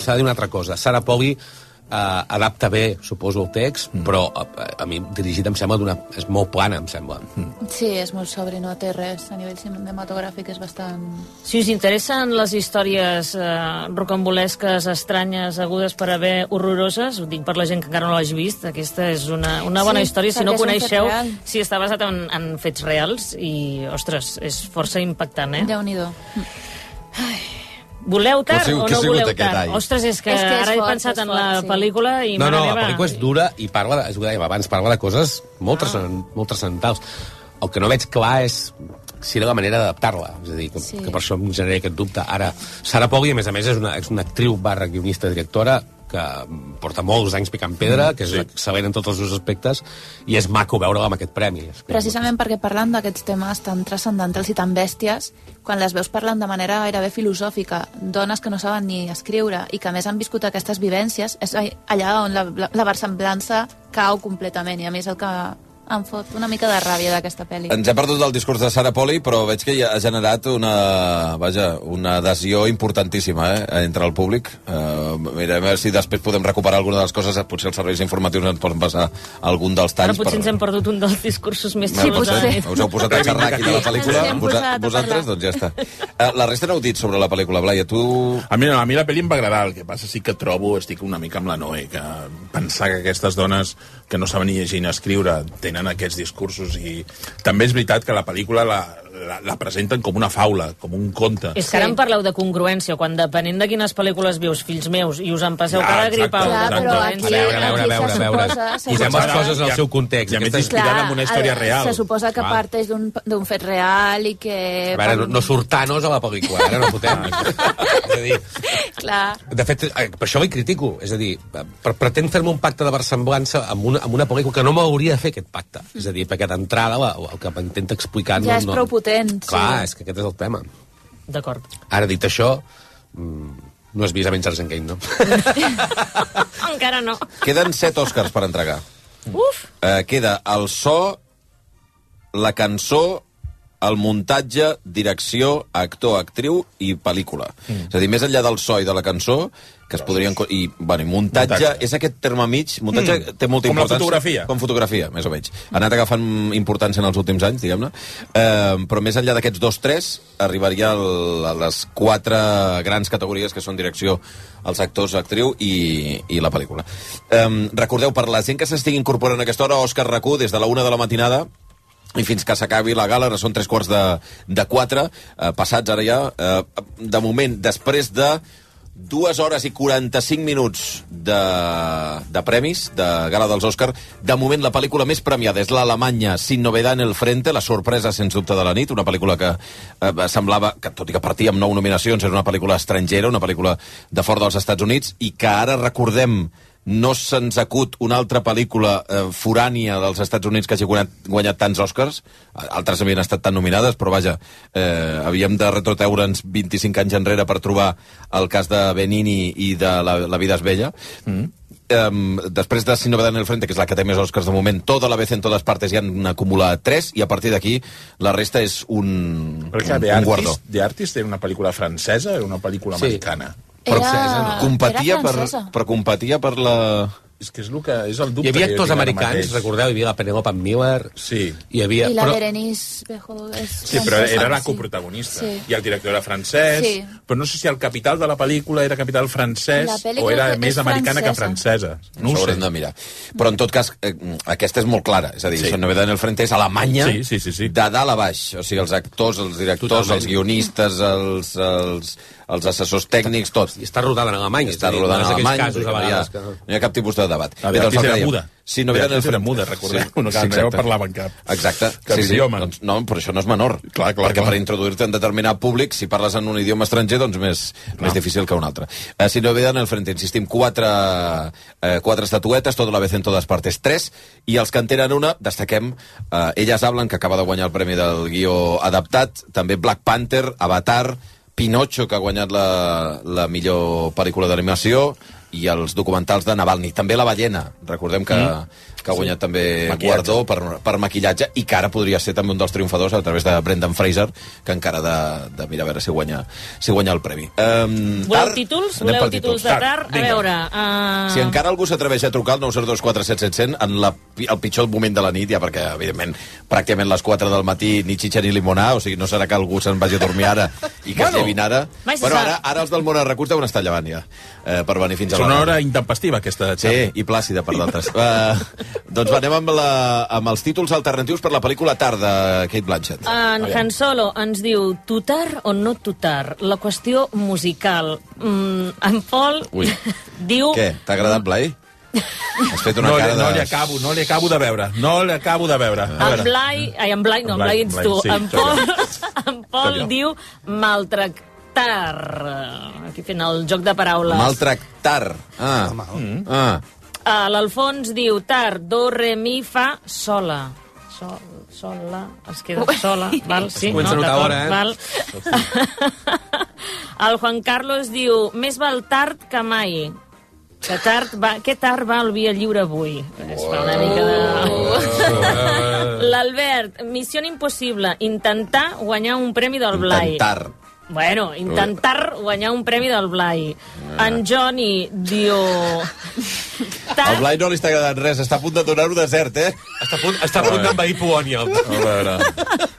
Speaker 2: s'ha de dir una altra cosa. Sara Poggi eh, adapta bé, suposo, el text, però a, a- a mi dirigit em sembla d'una... És molt plana, em sembla.
Speaker 17: Sí, és molt sobre, no té res. A nivell cinematogràfic és bastant...
Speaker 8: si us interessen les històries eh, rocambolesques, estranyes, agudes per haver horroroses, ho dic per la gent que encara no l'hagi vist, aquesta és una, una
Speaker 17: Sí,
Speaker 8: bona història, si
Speaker 17: perquè
Speaker 8: no
Speaker 17: és un fet
Speaker 8: coneixeu,
Speaker 17: real.
Speaker 8: si està basat en, en fets reals, i, ostres, és força impactant, eh?
Speaker 17: Déu-n'hi-do.
Speaker 8: Voleu tard
Speaker 2: Que ha sigut-
Speaker 8: o
Speaker 2: que ha
Speaker 8: no
Speaker 2: sigut
Speaker 8: voleu
Speaker 2: aquest
Speaker 8: tard?
Speaker 2: any?
Speaker 8: Ostres, és que,
Speaker 17: És que és
Speaker 8: ara he
Speaker 17: fort,
Speaker 8: pensat
Speaker 17: és
Speaker 8: en
Speaker 17: fort,
Speaker 8: la
Speaker 17: sí.
Speaker 8: pel·lícula i
Speaker 2: no,
Speaker 8: mare
Speaker 2: no, la
Speaker 8: meva...
Speaker 2: pel·lícula és dura i parla, de, és el que dèiem abans, parla de coses molt, transcen- molt transcendentals. El que no veig clar és si era la manera d'adaptar-la, és a dir, que,
Speaker 17: Sí.
Speaker 2: sí. que per això em genera aquest dubte. Ara, Sara Poggi, a més a més, és una, és una actriu barra guionista directora que porta molts anys picant pedra, que és sí. excel·lent en tots els seus aspectes, i és maco veure-la amb aquest premi.
Speaker 17: Precisament perquè parlant d'aquests temes tan transcendentals i tan bèsties, quan les veus parlant de manera gairebé filosòfica, dones que no saben ni escriure i que a més han viscut aquestes vivències, és all- allà on la, la, la versemblança cau completament i a més el que em fot una mica de ràbia d'aquesta pel·li.
Speaker 1: Ens hem perdut el discurs de Sara Poli, però veig que ja ha generat una, vaja, una adhesió importantíssima eh, entre el públic. Uh, mira, a veure si després podem recuperar alguna de les coses. Potser els serveis informatius ens poden passar algun dels
Speaker 8: Ara
Speaker 1: talls.
Speaker 8: potser ens hem perdut un dels discursos més
Speaker 1: Ah, doncs, eh, Us heu posat a xerrar aquí de la pel·lícula?
Speaker 8: Ens hem
Speaker 1: Vosa-
Speaker 8: posat a
Speaker 1: vosaltres,
Speaker 8: parlar.
Speaker 1: doncs ja està. Eh, La resta no heu dit sobre la pel·lícula, Blai, a tu...
Speaker 4: A mi, no, a mi la pel·li em va agradar, el que passa sí que trobo, estic una mica amb la Noe, que pensar que aquestes dones que no saben ni llegir ni escriure, tenen aquests discursos i... També és veritat que la pel·lícula la, la, la presenten com una faula, com un conte.
Speaker 8: És que ara em parleu de congruència, quan depenent de quines pel·lícules vius, fills meus, i us en passeu
Speaker 4: Ah,
Speaker 8: cada
Speaker 4: exacte,
Speaker 8: gripa una
Speaker 4: exacte.
Speaker 8: congruència.
Speaker 4: A veure, a veure, a veure,
Speaker 17: se
Speaker 4: a veure.
Speaker 17: suposa- se
Speaker 4: Posem
Speaker 17: suposa-
Speaker 4: les coses al seu
Speaker 2: context.
Speaker 4: I a més
Speaker 2: Aquesta és-
Speaker 4: inspirada en una història
Speaker 17: eh,
Speaker 4: real.
Speaker 17: Se suposa que
Speaker 2: Clar.
Speaker 17: parteix d'un d'un fet real i que...
Speaker 2: A veure, no, no surt Thanos a la pel·lícula, ara no fotem.
Speaker 17: Ah.
Speaker 2: és a dir,
Speaker 17: Clar.
Speaker 2: de fet, eh, per això li critico. És a dir, per, pretenc fer-me un pacte de versemblança amb una, amb una pel·lícula que no m'hauria de fer aquest pacte. És a dir, perquè d'entrada la- el que m'intenta explicar...
Speaker 17: Ja és
Speaker 2: no,
Speaker 17: prou potent. sí.
Speaker 2: Clar, és que aquest és el tema.
Speaker 8: D'acord.
Speaker 2: Ara, dit això, mm, no has vist Avengers Endgame,
Speaker 17: <laughs>
Speaker 2: no?
Speaker 8: Encara no.
Speaker 1: Queden set Oscars per entregar.
Speaker 8: Uf!
Speaker 1: Eh, queda el so, la cançó, el muntatge, direcció, actor, actriu i pel·lícula. Mm. És a dir, més enllà del so i de la cançó, que es podrien... co- I, bueno, i muntatge, muntatge,
Speaker 4: Muntatge.
Speaker 1: és aquest terme mig, muntatge
Speaker 4: Mm.
Speaker 1: mm. té molta
Speaker 4: Com la
Speaker 1: importància.
Speaker 4: fotografia.
Speaker 1: Com fotografia, més o menys. Ha anat agafant importància en els últims anys, diguem-ne. Eh, però més enllà d'aquests dos, tres, arribaria el, a les quatre grans categories que són direcció, els actors, actriu i, i la pel·lícula. Eh, recordeu, per la gent que s'estigui incorporant a aquesta hora, Òscar Racú, des de la una de la matinada, i fins que s'acabi la gala, ara són tres quarts de, de quatre, eh, passats ara ja, eh, de moment, després de dues hores i 45 minuts de, de premis, de gala dels Òscar, de moment la pel·lícula més premiada és l'Alemanya Sin novedad en el frente, la sorpresa, sens dubte, de la nit, una pel·lícula que eh, semblava, que tot i que partia amb nou nominacions, era una pel·lícula estrangera, una pel·lícula de fora dels Estats Units, i que ara recordem no se'ns acut una altra pel·lícula eh, forània dels Estats Units que hagi guanyat, guanyat tants Oscars. Altres havien estat tan nominades, però vaja, eh, havíem de retroteure'ns 25 anys enrere per trobar el cas de Benini i de La, la vida és bella. Mm. Um, després de Sin novedad en el frente, que és la que té més Oscars de moment, tota la vez en totes partes ja han acumulat 3 i a partir d'aquí la resta és un, un,
Speaker 4: Perquè The
Speaker 1: un guardó.
Speaker 4: Artist, The Artist era una pel·lícula francesa o una pel·lícula
Speaker 1: Sí.
Speaker 4: sí. americana?
Speaker 1: Però
Speaker 17: Ah,
Speaker 1: competia per, però competia per la...
Speaker 4: És que és, el que és el dubte.
Speaker 2: Hi havia
Speaker 4: que jo
Speaker 2: actors
Speaker 4: tinc ara
Speaker 2: americans,
Speaker 4: mateix.
Speaker 2: recordeu? Hi havia la Penelope Miller...
Speaker 4: Sí.
Speaker 2: Hi havia...
Speaker 17: I la
Speaker 2: però-
Speaker 17: Berenice Bejo és
Speaker 4: Sí, però
Speaker 17: francesa,
Speaker 4: era la
Speaker 17: sí.
Speaker 4: coprotagonista.
Speaker 17: Sí.
Speaker 4: Sí. I el director era francès,
Speaker 17: Sí.
Speaker 4: sí. però no sé si el capital de la pel·lícula era capital francès
Speaker 17: La pel·lícula
Speaker 4: o era
Speaker 17: és
Speaker 4: més americana que francesa.
Speaker 1: No
Speaker 4: No
Speaker 1: ho
Speaker 4: ho sé.
Speaker 1: haurem de mirar. Però, en tot cas, eh, aquesta és molt clara. És a dir,
Speaker 4: Sí.
Speaker 1: sí. la novedat en el frente és Alemanya
Speaker 4: Sí, sí, sí, sí.
Speaker 1: de dalt a baix. O sigui, els actors, els directors,
Speaker 2: Totalment.
Speaker 1: Totalment. els guionistes, els, els, els assessors tècnics, tots.
Speaker 2: I està rodada en Alemanya.
Speaker 1: Està rodant
Speaker 2: és
Speaker 1: a
Speaker 2: dir, no és
Speaker 1: Alemanya.
Speaker 2: d'aquells
Speaker 1: vull dir
Speaker 2: casos a
Speaker 1: que No hi ha,
Speaker 2: vegades que...
Speaker 1: no hi ha cap tipus de debat.
Speaker 4: A veure,
Speaker 1: Doncs el
Speaker 4: Beatriz
Speaker 1: que
Speaker 4: era
Speaker 1: dèiem.
Speaker 4: muda.
Speaker 1: Sí, novedat en el
Speaker 4: Beatriz era
Speaker 1: frente.
Speaker 4: muda, recordeu, no cal-
Speaker 1: exacte.
Speaker 4: no parlava en cap.
Speaker 1: Exacte.
Speaker 4: Cap idioma.
Speaker 1: Doncs, no, però això no és menor. Clar, clar, perquè clar. per introduir-te en determinat públic, si parles en un idioma estranger, doncs més, més difícil que un altre. Eh, si no ve en el frente, insistim, quatre, eh, quatre estatuetes, tota la vez en totes partes, tres, i els que en tenen una, destaquem, eh, Elles hablen, que acaba de guanyar el premi del guió adaptat, també Black Panther, Avatar, Pinocho, que ha guanyat la, la millor pel·lícula d'animació, i els documentals de Navalny. També La ballena, recordem que, mm. que ha guanyat també
Speaker 4: Maquillatge.
Speaker 1: guardó per, per maquillatge i que ara podria ser també un dels triomfadors a través de Brendan Fraser, que encara ha de, de mirar a veure si guanya, si guanya el premi. Um,
Speaker 8: Voleu títols?
Speaker 1: Anem
Speaker 8: Voleu
Speaker 1: per
Speaker 8: títols de tard? A
Speaker 1: vinga.
Speaker 8: veure...
Speaker 1: Si
Speaker 8: Uh...
Speaker 1: encara algú s'atreveix a trucar al 9024700 en la, pi- el pitjor moment de la nit, ja perquè, evidentment, pràcticament les 4 del matí ni xitxa ni limonà, o sigui, no serà que algú se'n vagi a dormir ara i que bueno, es llevin ara.
Speaker 4: mai se
Speaker 1: Bueno,
Speaker 4: sap.
Speaker 1: ara, ara els del món de recurs deuen estar llevant ja, eh, per venir fins
Speaker 4: És
Speaker 1: a la
Speaker 4: una
Speaker 1: una.
Speaker 4: hora intempestiva, aquesta xapa.
Speaker 1: Sí, i plàcida per
Speaker 4: <laughs>
Speaker 1: d'altres. uh, doncs va, anem amb, la, amb els títols alternatius per la pel·lícula Tarda, Kate Blanchett.
Speaker 8: En Han Solo ens diu tutar o no tutar, la qüestió musical. Mm, en Pol
Speaker 1: Ui.
Speaker 8: <laughs> diu...
Speaker 1: Què? T'ha agradat, Blai? Has fet una
Speaker 4: no, li-
Speaker 1: cara de...
Speaker 4: no li acabo, no li acabo de veure. No li acabo de veure. A
Speaker 8: En
Speaker 4: veure.
Speaker 8: Blai... Ai, en Blai no, en Blai, ets
Speaker 4: Blai,
Speaker 8: tu.
Speaker 4: sí,
Speaker 8: en
Speaker 4: sóc
Speaker 8: Pol, <laughs>
Speaker 4: jo.
Speaker 8: en
Speaker 4: Sóc
Speaker 8: Pol
Speaker 4: jo.
Speaker 8: diu maltractar. Aquí fent el joc de paraules.
Speaker 1: Maltractar. Ah. Mm. ah.
Speaker 8: Uh, L'Alfons diu tar, do, re, mi, fa, sola. Sol, sola, es queda sola, val? Sí,
Speaker 2: Comença a notar
Speaker 8: D'acord,
Speaker 2: hora, eh? <laughs>
Speaker 8: Val. el Juan Carlos diu, més val tard que mai. Que tard va, que tard va el via lliure avui. Es fa una mica de... L'Albert, missió impossible, intentar guanyar un premi del Blai.
Speaker 1: Intentar.
Speaker 8: Bueno, intentar guanyar un premi del Blai.
Speaker 1: Ah.
Speaker 8: En Johnny diu...
Speaker 1: Al Blai no li està agradant res, està a punt de donar-ho desert, eh?
Speaker 2: Està a punt, està a punt d'envair Polònia.
Speaker 1: A veure...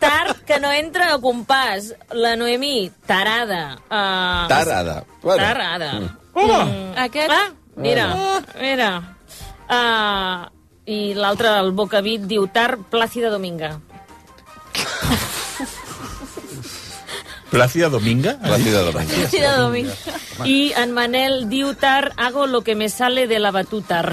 Speaker 8: Tard, que no entra a compàs. La Noemí, tarada. Uh,
Speaker 1: Tarada.
Speaker 8: Bueno. Tarada.
Speaker 1: Mm. Ah.
Speaker 8: Hola. Mm, aquest... Ah, mira, mira. Uh, I l'altre, el Bocavit, diu Tar Plàcida Dominga.
Speaker 4: Plàcida Dominga?
Speaker 1: Plàcida Dominga.
Speaker 8: Plàcida Dominga. I en Manel diu Tar Hago lo que me sale de la batutar.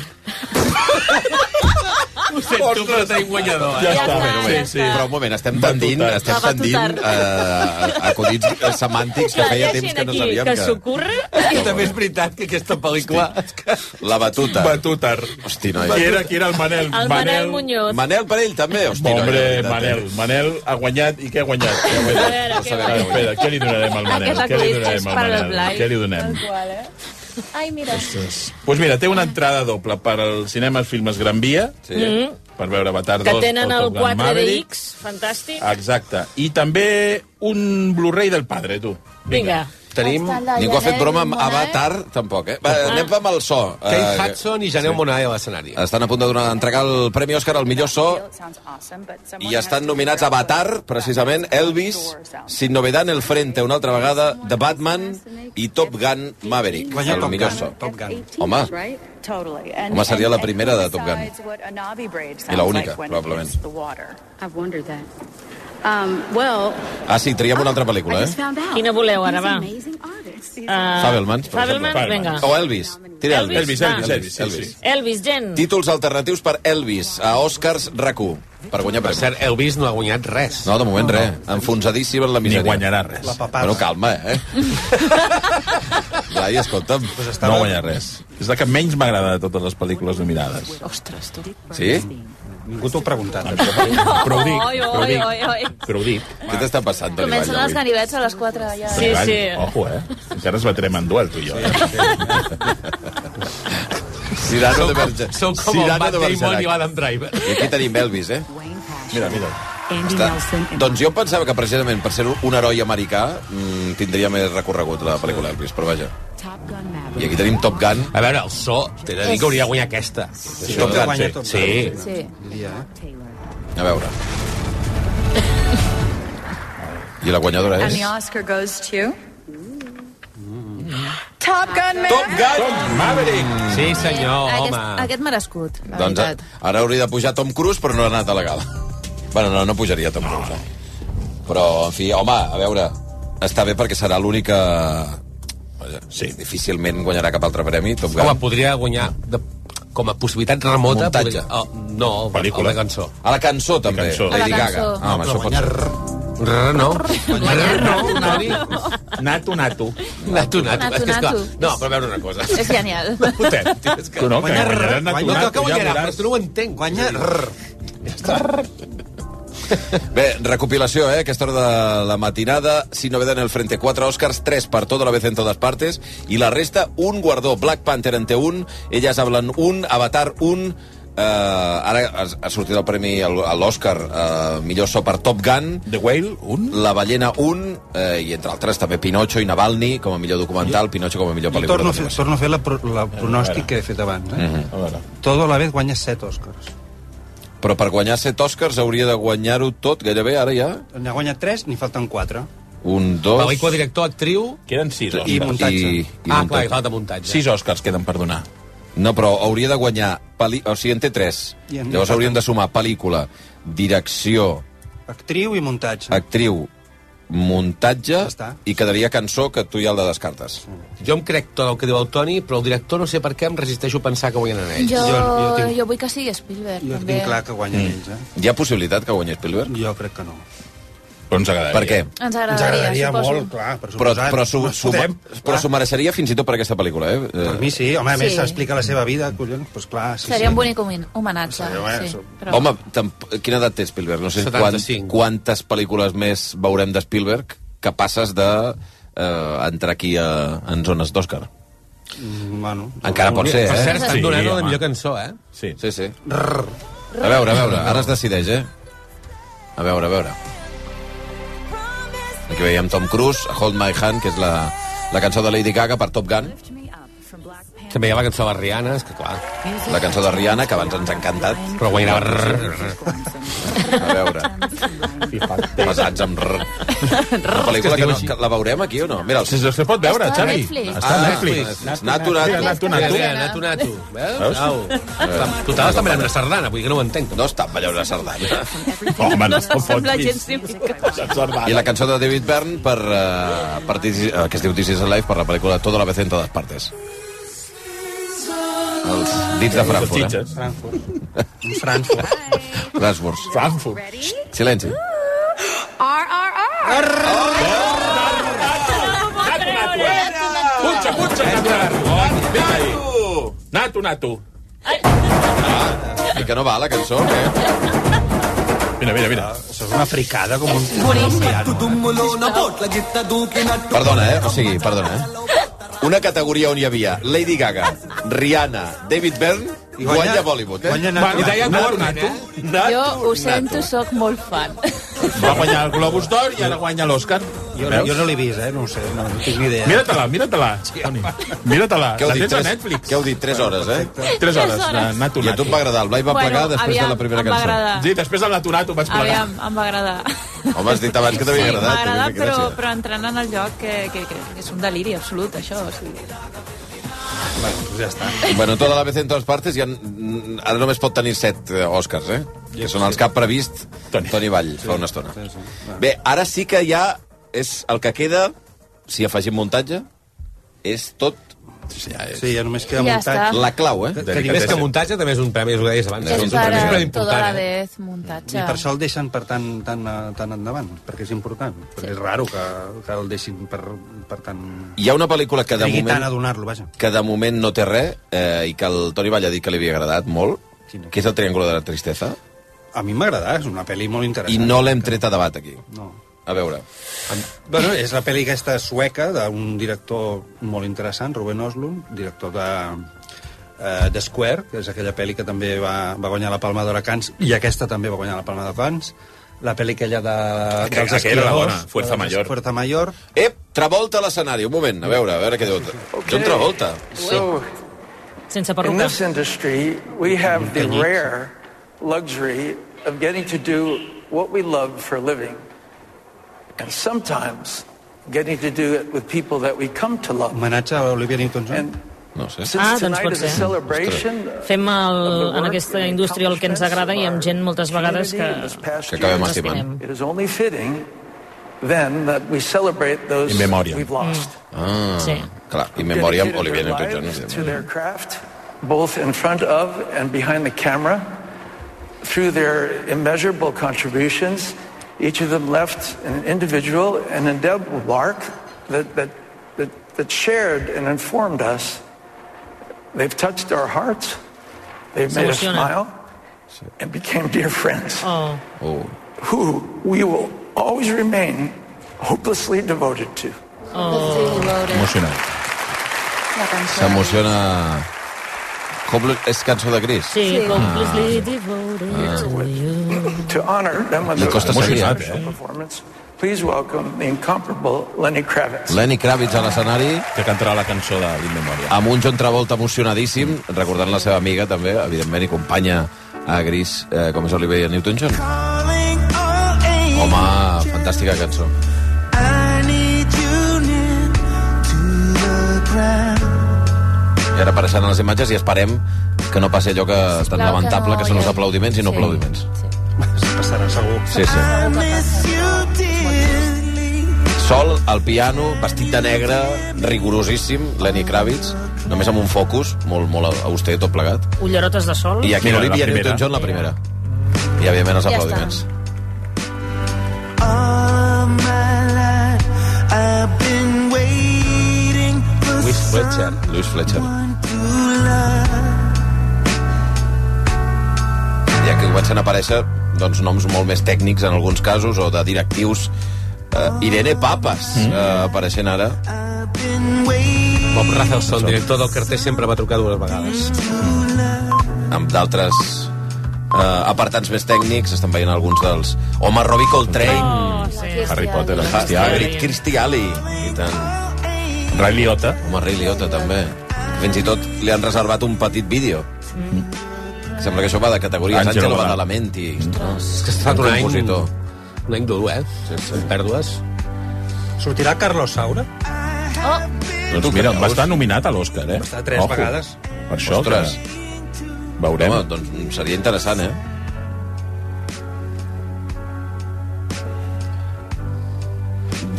Speaker 2: Ho sento, però tenim guanyador.
Speaker 1: Ja,
Speaker 8: Ja
Speaker 1: està,
Speaker 8: està,
Speaker 1: bé,
Speaker 8: ja
Speaker 1: sí, sí.
Speaker 8: està.
Speaker 1: Però un moment, estem tendint, estem
Speaker 8: Va,
Speaker 1: tendint eh, acudits eh, semàntics que
Speaker 8: Clar, hi
Speaker 1: feia
Speaker 8: ha
Speaker 1: temps
Speaker 8: gent
Speaker 1: que no
Speaker 8: aquí
Speaker 1: sabíem
Speaker 8: que
Speaker 1: que...
Speaker 8: s'ocorre.
Speaker 2: I també és veritat que aquesta pel·lícula...
Speaker 1: La batuta.
Speaker 4: Batutar.
Speaker 1: Hosti, noi.
Speaker 4: Qui era, qui era el Manel?
Speaker 8: El Manel Muñoz.
Speaker 1: Manel Parell, també, hosti, noi.
Speaker 4: Hombre,
Speaker 1: de veritat,
Speaker 4: Manel.
Speaker 1: eh?
Speaker 4: Manel ha guanyat i què ha guanyat? Què ha guanyat?
Speaker 8: A veure, què
Speaker 4: Ah,
Speaker 8: guanya?
Speaker 4: espera, què li donarem al Manel?
Speaker 13: Aquest
Speaker 4: Què li
Speaker 13: acudit és
Speaker 4: donarem al
Speaker 13: per al
Speaker 4: Manel?
Speaker 13: Blai.
Speaker 4: Què li donem?
Speaker 13: qual, eh? Ai, mira.
Speaker 4: Doncs pues mira, té una entrada doble per al cinema els filmes Gran Via,
Speaker 1: sí.
Speaker 8: Mm.
Speaker 4: per veure Avatar 2.
Speaker 8: Que tenen
Speaker 4: o
Speaker 8: el
Speaker 4: Top Gun
Speaker 8: 4DX,
Speaker 4: Maverick.
Speaker 8: fantàstic.
Speaker 4: Exacte. I també un Blu-ray del padre, tu.
Speaker 8: Vinga. doncs
Speaker 2: Tenim...
Speaker 1: Ningú ha fet broma amb Avatar, tampoc, eh? Va, anem amb el so.
Speaker 2: Kate
Speaker 1: Eh,
Speaker 2: Hudson i Janelle Monáe a l'escenari.
Speaker 1: Estan a punt de donar, entregar el Premi Òscar al millor so i estan nominats a Avatar, precisament, Elvis, Sin Novedad en el Frente, una altra vegada, The Batman i Top Gun Maverick.
Speaker 5: Guanya
Speaker 1: el
Speaker 5: Top
Speaker 1: millor
Speaker 5: Gun,
Speaker 1: so.
Speaker 5: Top Gun.
Speaker 1: Home,
Speaker 7: Home,
Speaker 1: home, seria la primera de Top Gun. I la única, probablement.
Speaker 7: I've wondered that. Um, well,
Speaker 1: Ah, sí, triem una altra pel·lícula,
Speaker 7: I just
Speaker 1: eh?
Speaker 7: found out.
Speaker 8: Quina voleu ara, va? Ah.
Speaker 7: Uh,
Speaker 1: Fabelmans, per
Speaker 8: Fabelmans,
Speaker 1: exemple.
Speaker 8: vinga.
Speaker 1: O Elvis. Tira Elvis. Ah,
Speaker 4: Elvis,
Speaker 8: va.
Speaker 4: Elvis, Elvis, Elvis. sí, sí.
Speaker 8: Elvis, gent.
Speaker 1: Títols alternatius per Elvis a Oscars RAC1 per guanyar
Speaker 2: Per
Speaker 1: premi.
Speaker 2: cert, Elvis no ha guanyat res.
Speaker 1: No, de moment res. Enfonsadíssim en la misèria.
Speaker 4: Ni guanyarà res.
Speaker 5: La papada.
Speaker 1: Però calma, eh? Blai, escolta'm.
Speaker 5: Pues estava...
Speaker 4: No guanya res. És la que menys m'agrada de totes les pel·lícules nominades.
Speaker 17: Ostres, tu.
Speaker 1: Sí?
Speaker 5: Ningú t'ho ha preguntat.
Speaker 4: Però ho dic,
Speaker 17: Oi,
Speaker 4: però ho
Speaker 17: oi,
Speaker 4: dic.
Speaker 17: oi, oi.
Speaker 4: Però ho dic.
Speaker 1: Què t'està passant, Toni Vall,
Speaker 17: Comencen els
Speaker 1: avui?
Speaker 17: ganivets a les 4. Ja.
Speaker 8: Sí,
Speaker 4: Vall,
Speaker 8: sí.
Speaker 4: Ojo, eh? Encara es batrem en duel, tu i jo. eh?
Speaker 1: Cirano de Berger.
Speaker 2: Sou com el Matt Damon i
Speaker 1: Bergerac.
Speaker 2: l'Adam Driver.
Speaker 1: I aquí tenim Elvis, eh?
Speaker 4: Mira, mira.
Speaker 7: Andy
Speaker 1: Està.
Speaker 7: Nelson and
Speaker 1: Doncs jo em pensava que precisament per ser un heroi americà mm, tindria més recorregut la pel·lícula Elvis, però vaja.
Speaker 7: Top Gun
Speaker 1: I
Speaker 7: Maverick.
Speaker 1: aquí tenim Top Gun.
Speaker 2: A veure, el so, t'he de dir que hauria de guanyar aquesta.
Speaker 5: Sí, Top Gun,
Speaker 4: sí.
Speaker 5: guanya Top Gun.
Speaker 2: Sí.
Speaker 17: Sí.
Speaker 5: Diria, eh?
Speaker 7: Taylor.
Speaker 1: A veure. I la guanyadora és...
Speaker 18: Oscar goes to... Top Gun Maverick.
Speaker 1: Top Gun!
Speaker 4: Maverick!
Speaker 2: Sí, senyor,
Speaker 17: Aquest,
Speaker 2: home.
Speaker 17: aquest m'ha nascut, la
Speaker 1: Doncs
Speaker 17: veritat.
Speaker 1: a- ara hauria de pujar Tom Cruise, però no ha anat a la gala. Bueno, no, no pujaria Tom Cruise. eh? Però, en fi, home, a veure, està bé perquè serà l'única... Vaja, Sí, difícilment guanyarà cap altre premi, Top Gun.
Speaker 2: Home, podria guanyar de, com a possibilitat remota...
Speaker 1: Muntatge.
Speaker 2: Podria, oh, no,
Speaker 4: Pel·lícula.
Speaker 2: pel·lícula. la cançó.
Speaker 1: A la cançó, també.
Speaker 4: cançó.
Speaker 1: Lady
Speaker 17: A la
Speaker 1: Gaga.
Speaker 17: cançó.
Speaker 1: Ah, home, això pot ser.
Speaker 2: Rrr, no. Rrr, no, Toni.
Speaker 4: Nato, nato.
Speaker 2: Nato, nato.
Speaker 17: Nato,
Speaker 2: És que, esclar,
Speaker 17: nato.
Speaker 2: no, però a veure una cosa.
Speaker 17: És genial.
Speaker 2: Fotem, tio, és que...
Speaker 4: Tu no, que
Speaker 5: Guanya
Speaker 4: guanyaràs
Speaker 5: res,
Speaker 4: nato,
Speaker 5: guanya-
Speaker 2: No,
Speaker 4: nato.
Speaker 2: que guanyarà,
Speaker 4: ja
Speaker 2: però
Speaker 4: veuràs.
Speaker 2: tu no ho entenc.
Speaker 5: Guanya... Rrr.
Speaker 1: Bé, recopilació, eh? Aquesta hora de la matinada, si no en el frente 4 Oscars, 3 per tota la vez en totes partes, i la resta, un guardó, Black Panther en té un, Elles hablen un, Avatar un, eh, ara ha- ha sortit el premi al- a l'Oscar eh, millor so per Top Gun,
Speaker 4: The Whale, un...
Speaker 1: La ballena un, eh, i entre altres també Pinocho i Navalny com a millor documental, Pinocho com a millor
Speaker 5: Jo
Speaker 1: pel·lícula.
Speaker 5: torno a, fer,
Speaker 1: d'animació.
Speaker 5: torno a fer la, pro, la pronòstic que he fet abans. Eh?
Speaker 4: A veure.
Speaker 5: Todo a la vez guanya 7 Oscars.
Speaker 1: Però per guanyar 7 Oscars hauria de guanyar-ho tot, gairebé ara ja.
Speaker 5: N'ha guanyat 3, n'hi falten 4.
Speaker 1: Un, dos...
Speaker 2: Pel·lícula, director, actriu...
Speaker 4: Queden sis
Speaker 1: i,
Speaker 4: Oscars.
Speaker 5: muntatge.
Speaker 1: I, i
Speaker 2: ah,
Speaker 1: muntatge.
Speaker 2: clar, i falta muntatge.
Speaker 4: Sis Oscars queden per donar.
Speaker 1: No, però hauria de guanyar... Peli... O sigui, en té tres.
Speaker 5: I en-
Speaker 1: Llavors hauríem de sumar pel·lícula, direcció,
Speaker 5: Actriu i muntatge.
Speaker 1: actriu, muntatge
Speaker 5: Ja està.
Speaker 1: i quedaria cançó que tu ja la descartes.
Speaker 2: Jo em crec tot el que diu el Toni, però el director no sé per què em resisteixo a pensar que guanyen en ell.
Speaker 17: Jo,
Speaker 5: Jo- jo
Speaker 17: jo,
Speaker 5: tinc-
Speaker 17: jo vull que sigui Spielberg,
Speaker 5: Jo
Speaker 17: també.
Speaker 5: tinc clar que guanyen ells, eh?
Speaker 1: Hi ha possibilitat que guanyi Spielberg?
Speaker 5: Jo crec que no.
Speaker 4: Però ens agradaria.
Speaker 1: Per què?
Speaker 17: Ens agradaria, suposo.
Speaker 5: clar, per
Speaker 1: Però,
Speaker 5: suposat.
Speaker 1: però, su,
Speaker 5: No
Speaker 1: su,
Speaker 5: fotem,
Speaker 1: però
Speaker 5: clar.
Speaker 1: s'ho mereixeria fins i tot per aquesta pel·lícula, eh? eh?
Speaker 5: Per mi sí, home, a més
Speaker 17: Sí.
Speaker 5: s'explica la seva vida, collons, doncs clar, sí,
Speaker 17: Seria
Speaker 5: sí.
Speaker 17: un bonic homen- homenatge.
Speaker 5: Seria, bueno,
Speaker 17: Sí,
Speaker 5: so-
Speaker 17: però...
Speaker 1: Home, tamp... quina edat té Spielberg? No sé quan,
Speaker 2: 75.
Speaker 1: quantes pel·lícules més veurem de Spielberg que passes de eh, entrar aquí a, en zones d'Òscar.
Speaker 5: Mm, Bueno,
Speaker 1: Encara pot ser,
Speaker 2: Per
Speaker 1: eh?
Speaker 2: cert, estan
Speaker 4: Sí,
Speaker 2: donant la
Speaker 4: home.
Speaker 2: millor cançó, eh?
Speaker 4: Sí.
Speaker 1: Sí, sí. A veure, a veure, ara es decideix, eh? A veure, a veure. Aquí veiem Tom Cruise, Hold My Hand, que és la, la cançó de Lady Gaga per Top Gun,
Speaker 2: També hi ha la cançó de les Rianes, que clar...
Speaker 1: la cançó de Rihanna, que abans ens ha encantat.
Speaker 2: Però guanyarà...
Speaker 1: A veure. Pesats amb... rrr. Una pel·lícula que, no, que la veurem aquí o no? Mira, el...
Speaker 4: Si se pot veure, Està a Xavi. Netflix. Està a
Speaker 1: Ah,
Speaker 4: Netflix.
Speaker 1: Nato, nato.
Speaker 2: Mira, nato, nato. Mira, nato, nato. Veus?
Speaker 1: Veus?
Speaker 2: Au.
Speaker 1: Eh,
Speaker 2: Total, està ballant una sardana, vull dir que no ho entenc.
Speaker 1: No està ballant una sardana.
Speaker 4: Home, no,
Speaker 1: no
Speaker 4: fotis.
Speaker 1: I la cançó de David Byrne per, uh, per This Is- eh, que es diu This is Alive per la pel·lícula Toda la vez en todas partes. Els dits de Frankfurt, eh? <laughs>
Speaker 5: Frankfurt. Un Frankfurt.
Speaker 1: Frankfurt.
Speaker 4: Frankfurt.
Speaker 1: Silenci.
Speaker 4: Punxa, punxa, nato. Vinga ahí. Nato, nato.
Speaker 1: I que no va la cançó, eh?
Speaker 4: Mira, mira, mira.
Speaker 5: Això és una fricada com un...
Speaker 1: Perdona, eh? O sigui, perdona, eh? Una categoria on hi havia Lady Gaga, Rihanna, David Byrne,
Speaker 5: I
Speaker 1: i
Speaker 5: guanya-
Speaker 1: guanya Bollywood, eh?
Speaker 5: guanya Nato. Va, i deia
Speaker 1: Nato,
Speaker 5: Gorman,
Speaker 2: eh?
Speaker 1: Nato.
Speaker 17: Jo
Speaker 1: Nato,
Speaker 17: ho sento, sóc molt fan.
Speaker 4: Va guanyar el Globus d'Or i ara guanya l'Òscar.
Speaker 5: Jo,
Speaker 4: Veus?
Speaker 5: jo no l'he vist, eh? No ho sé, no, no tinc ni idea.
Speaker 4: Mira-te-la, mira-te-la. Toni. Mira-te-la.
Speaker 1: Què heu
Speaker 4: La
Speaker 1: dit?
Speaker 4: tens a
Speaker 1: Tres-
Speaker 4: Netflix.
Speaker 1: Què heu dit? 3 hores, eh?
Speaker 4: Tres hores, de Nato, Nato.
Speaker 1: I a tu et va agradar, el Blai va
Speaker 17: Bueno,
Speaker 1: plegar després de
Speaker 17: aviam,
Speaker 1: la primera
Speaker 17: em va
Speaker 1: cançó.
Speaker 17: agradar.
Speaker 4: Sí, després del Nato, Nato vas plegar.
Speaker 17: Aviam, em va agradar.
Speaker 1: Home, has dit abans que t'havia
Speaker 17: sí,
Speaker 1: agradat.
Speaker 17: m'ha agradat,
Speaker 1: t'havia
Speaker 17: però,
Speaker 1: agradat.
Speaker 17: però entrant en el lloc que, que, que és un deliri absolut, això. O sigui.
Speaker 5: Bueno, doncs ja està.
Speaker 1: Bueno, tota la vez en totes partes, ja, n- ara només pot tenir set eh, Oscars, eh? Que són els que ha previst Toni, Toni Vall fa una estona. Bé, ara sí que ja és el que queda, si afegim muntatge, és tot... Ja és.
Speaker 5: Sí, ja només queda
Speaker 17: Ja
Speaker 5: muntatge.
Speaker 17: està.
Speaker 1: La clau, eh?
Speaker 2: Que més que muntatge també és un premi, és ho deies abans.
Speaker 1: És
Speaker 2: un
Speaker 17: per
Speaker 2: premi,
Speaker 17: a
Speaker 2: premi
Speaker 17: tota la
Speaker 2: important. eh?
Speaker 17: vez
Speaker 5: I
Speaker 17: muntatge.
Speaker 5: per això el deixen per tan, tan, eh, tan endavant, perquè és important. Perquè és raro que, que el deixin per, per tan...
Speaker 1: Hi ha una pel·lícula que de
Speaker 5: Trigui tant a
Speaker 1: moment,
Speaker 5: donar-lo, vaja.
Speaker 1: que de moment no té res eh, i que el Toni Vall ha dit que li havia agradat molt, que és el Triángulo de la Tristeza,
Speaker 5: A mi m'agrada, és una pel·li molt
Speaker 1: i
Speaker 5: interessant.
Speaker 1: no l'hem tret a debat aquí.
Speaker 5: No.
Speaker 1: A veure,
Speaker 5: Bueno, és la pel·li aquesta sueca d'un director molt interessant, Ruben Oslund, director de eh, The Square, que és aquella pel·li que també va, va guanyar la Palma d'Or a Cannes, i aquesta també va guanyar la Palma de Cannes, la pel·li aquella de,
Speaker 4: Aquella-
Speaker 5: dels
Speaker 4: aquella era la
Speaker 5: esquiadors,
Speaker 4: bona, Fuerza
Speaker 5: la de
Speaker 4: Mayor.
Speaker 5: Fuerza Mayor.
Speaker 1: Ep, Travolta a l'escenari, un moment, a veure, a veure què diu. John Travolta.
Speaker 6: So,
Speaker 8: Sense
Speaker 6: in
Speaker 8: perruca.
Speaker 6: this industry, we have the rare luxury of getting to do what we love for a living. And sometimes getting to do it with people that we come to love.
Speaker 5: Homenatge a Olivia Newton-John.
Speaker 1: No sé.
Speaker 6: Since
Speaker 8: Ah, doncs
Speaker 6: tonight
Speaker 8: pot
Speaker 6: is a celebration
Speaker 8: ser. Fem el, en aquesta indústria el que ens agrada i amb gent moltes vegades que...
Speaker 1: Que acabem estimant.
Speaker 8: ens estimem.
Speaker 6: It is only fitting then that we celebrate those
Speaker 1: In memoriam.
Speaker 6: we've lost.
Speaker 8: Mm.
Speaker 1: Ah,
Speaker 6: Sí.
Speaker 1: clar, in memoriam,
Speaker 6: Dedicated
Speaker 1: Olivia
Speaker 6: their
Speaker 9: ¿eh?
Speaker 1: Newton-John.
Speaker 6: lives To
Speaker 1: evidentment.
Speaker 6: their craft, both in front of and behind the camera, through their immeasurable contributions, each of them left an individual and indelible mark that, that, that, that shared and informed us. They've touched our hearts, they've made us
Speaker 8: Soluciona.
Speaker 6: smile, and became dear friends
Speaker 8: Oh.
Speaker 1: Oh.
Speaker 6: who we will always remain hopelessly devoted to.
Speaker 1: Emocionat. S'emociona... Hopeless és cançó de Gris.
Speaker 8: Sí,
Speaker 6: Sí.
Speaker 8: completely devoted
Speaker 1: Ah.
Speaker 8: to you.
Speaker 6: to honor them with
Speaker 1: Me costa
Speaker 6: their
Speaker 1: seguir, eh?
Speaker 6: special performance. Please welcome the incomparable Lenny Kravitz.
Speaker 1: Lenny Kravitz a l'escenari
Speaker 4: Que cantarà la cançó de l'Inmemoria.
Speaker 1: amb un John Travolta emocionadíssim, recordant la seva amiga també, evidentment, i companya a Gris, eh, com és Olivia Newton-John. Home, fantàstica cançó. I ara apareixeran les imatges i esperem que no passi allò que tan
Speaker 5: que
Speaker 1: lamentable
Speaker 5: no,
Speaker 1: que són els
Speaker 5: ja.
Speaker 1: aplaudiments i no
Speaker 5: Sí.
Speaker 1: aplaudiments.
Speaker 5: Passarà segur.
Speaker 1: Sí, sí. Sol, al piano, vestit de negre, rigorosíssim, Lenny Kravitz, només amb un focus, molt, molt auster, tot plegat.
Speaker 8: Ullerotes de sol.
Speaker 1: I aquí
Speaker 4: Mira, la
Speaker 1: l'Olivia
Speaker 4: primera.
Speaker 1: Newton-John, la primera. I, òbviament, els
Speaker 8: Ja
Speaker 1: aplaudiments.
Speaker 2: Louis Fletcher.
Speaker 1: Louis Fletcher. I aquí comencen a aparèixer doncs, noms molt més tècnics, en alguns casos, o de directius. Uh, Irene Papas, mm. uh, apareixent ara.
Speaker 2: Bob Rafelson, director del carter, sempre va trucar dues vegades.
Speaker 1: amb d'altres eh, apartats més tècnics, estan veient alguns dels... Home, Robbie Coltrane, Harry Potter, el Kirstie Alley. Kirstie Alley, i tant.
Speaker 4: Ray Liotta.
Speaker 1: Home, Ray Liotta, també. Fins i tot li han reservat un petit vídeo. Sembla que això va de categoria.
Speaker 4: Angelo
Speaker 1: Àngelo
Speaker 4: Badalamenti.
Speaker 1: Badalamenti. Ostres,
Speaker 2: Mm. És que ha estat un any...
Speaker 1: compositor.
Speaker 2: Un any dur, eh? Sí, sí. Pèrdues. Eh.
Speaker 5: Sortirà Carlos Saura?
Speaker 8: Oh,
Speaker 4: Doncs mira, va estar nominat a l'Oscar, eh?
Speaker 5: estar tres vegades.
Speaker 4: Per això,
Speaker 1: Ostres.
Speaker 4: que Veurem.
Speaker 1: Home, doncs seria interessant, eh?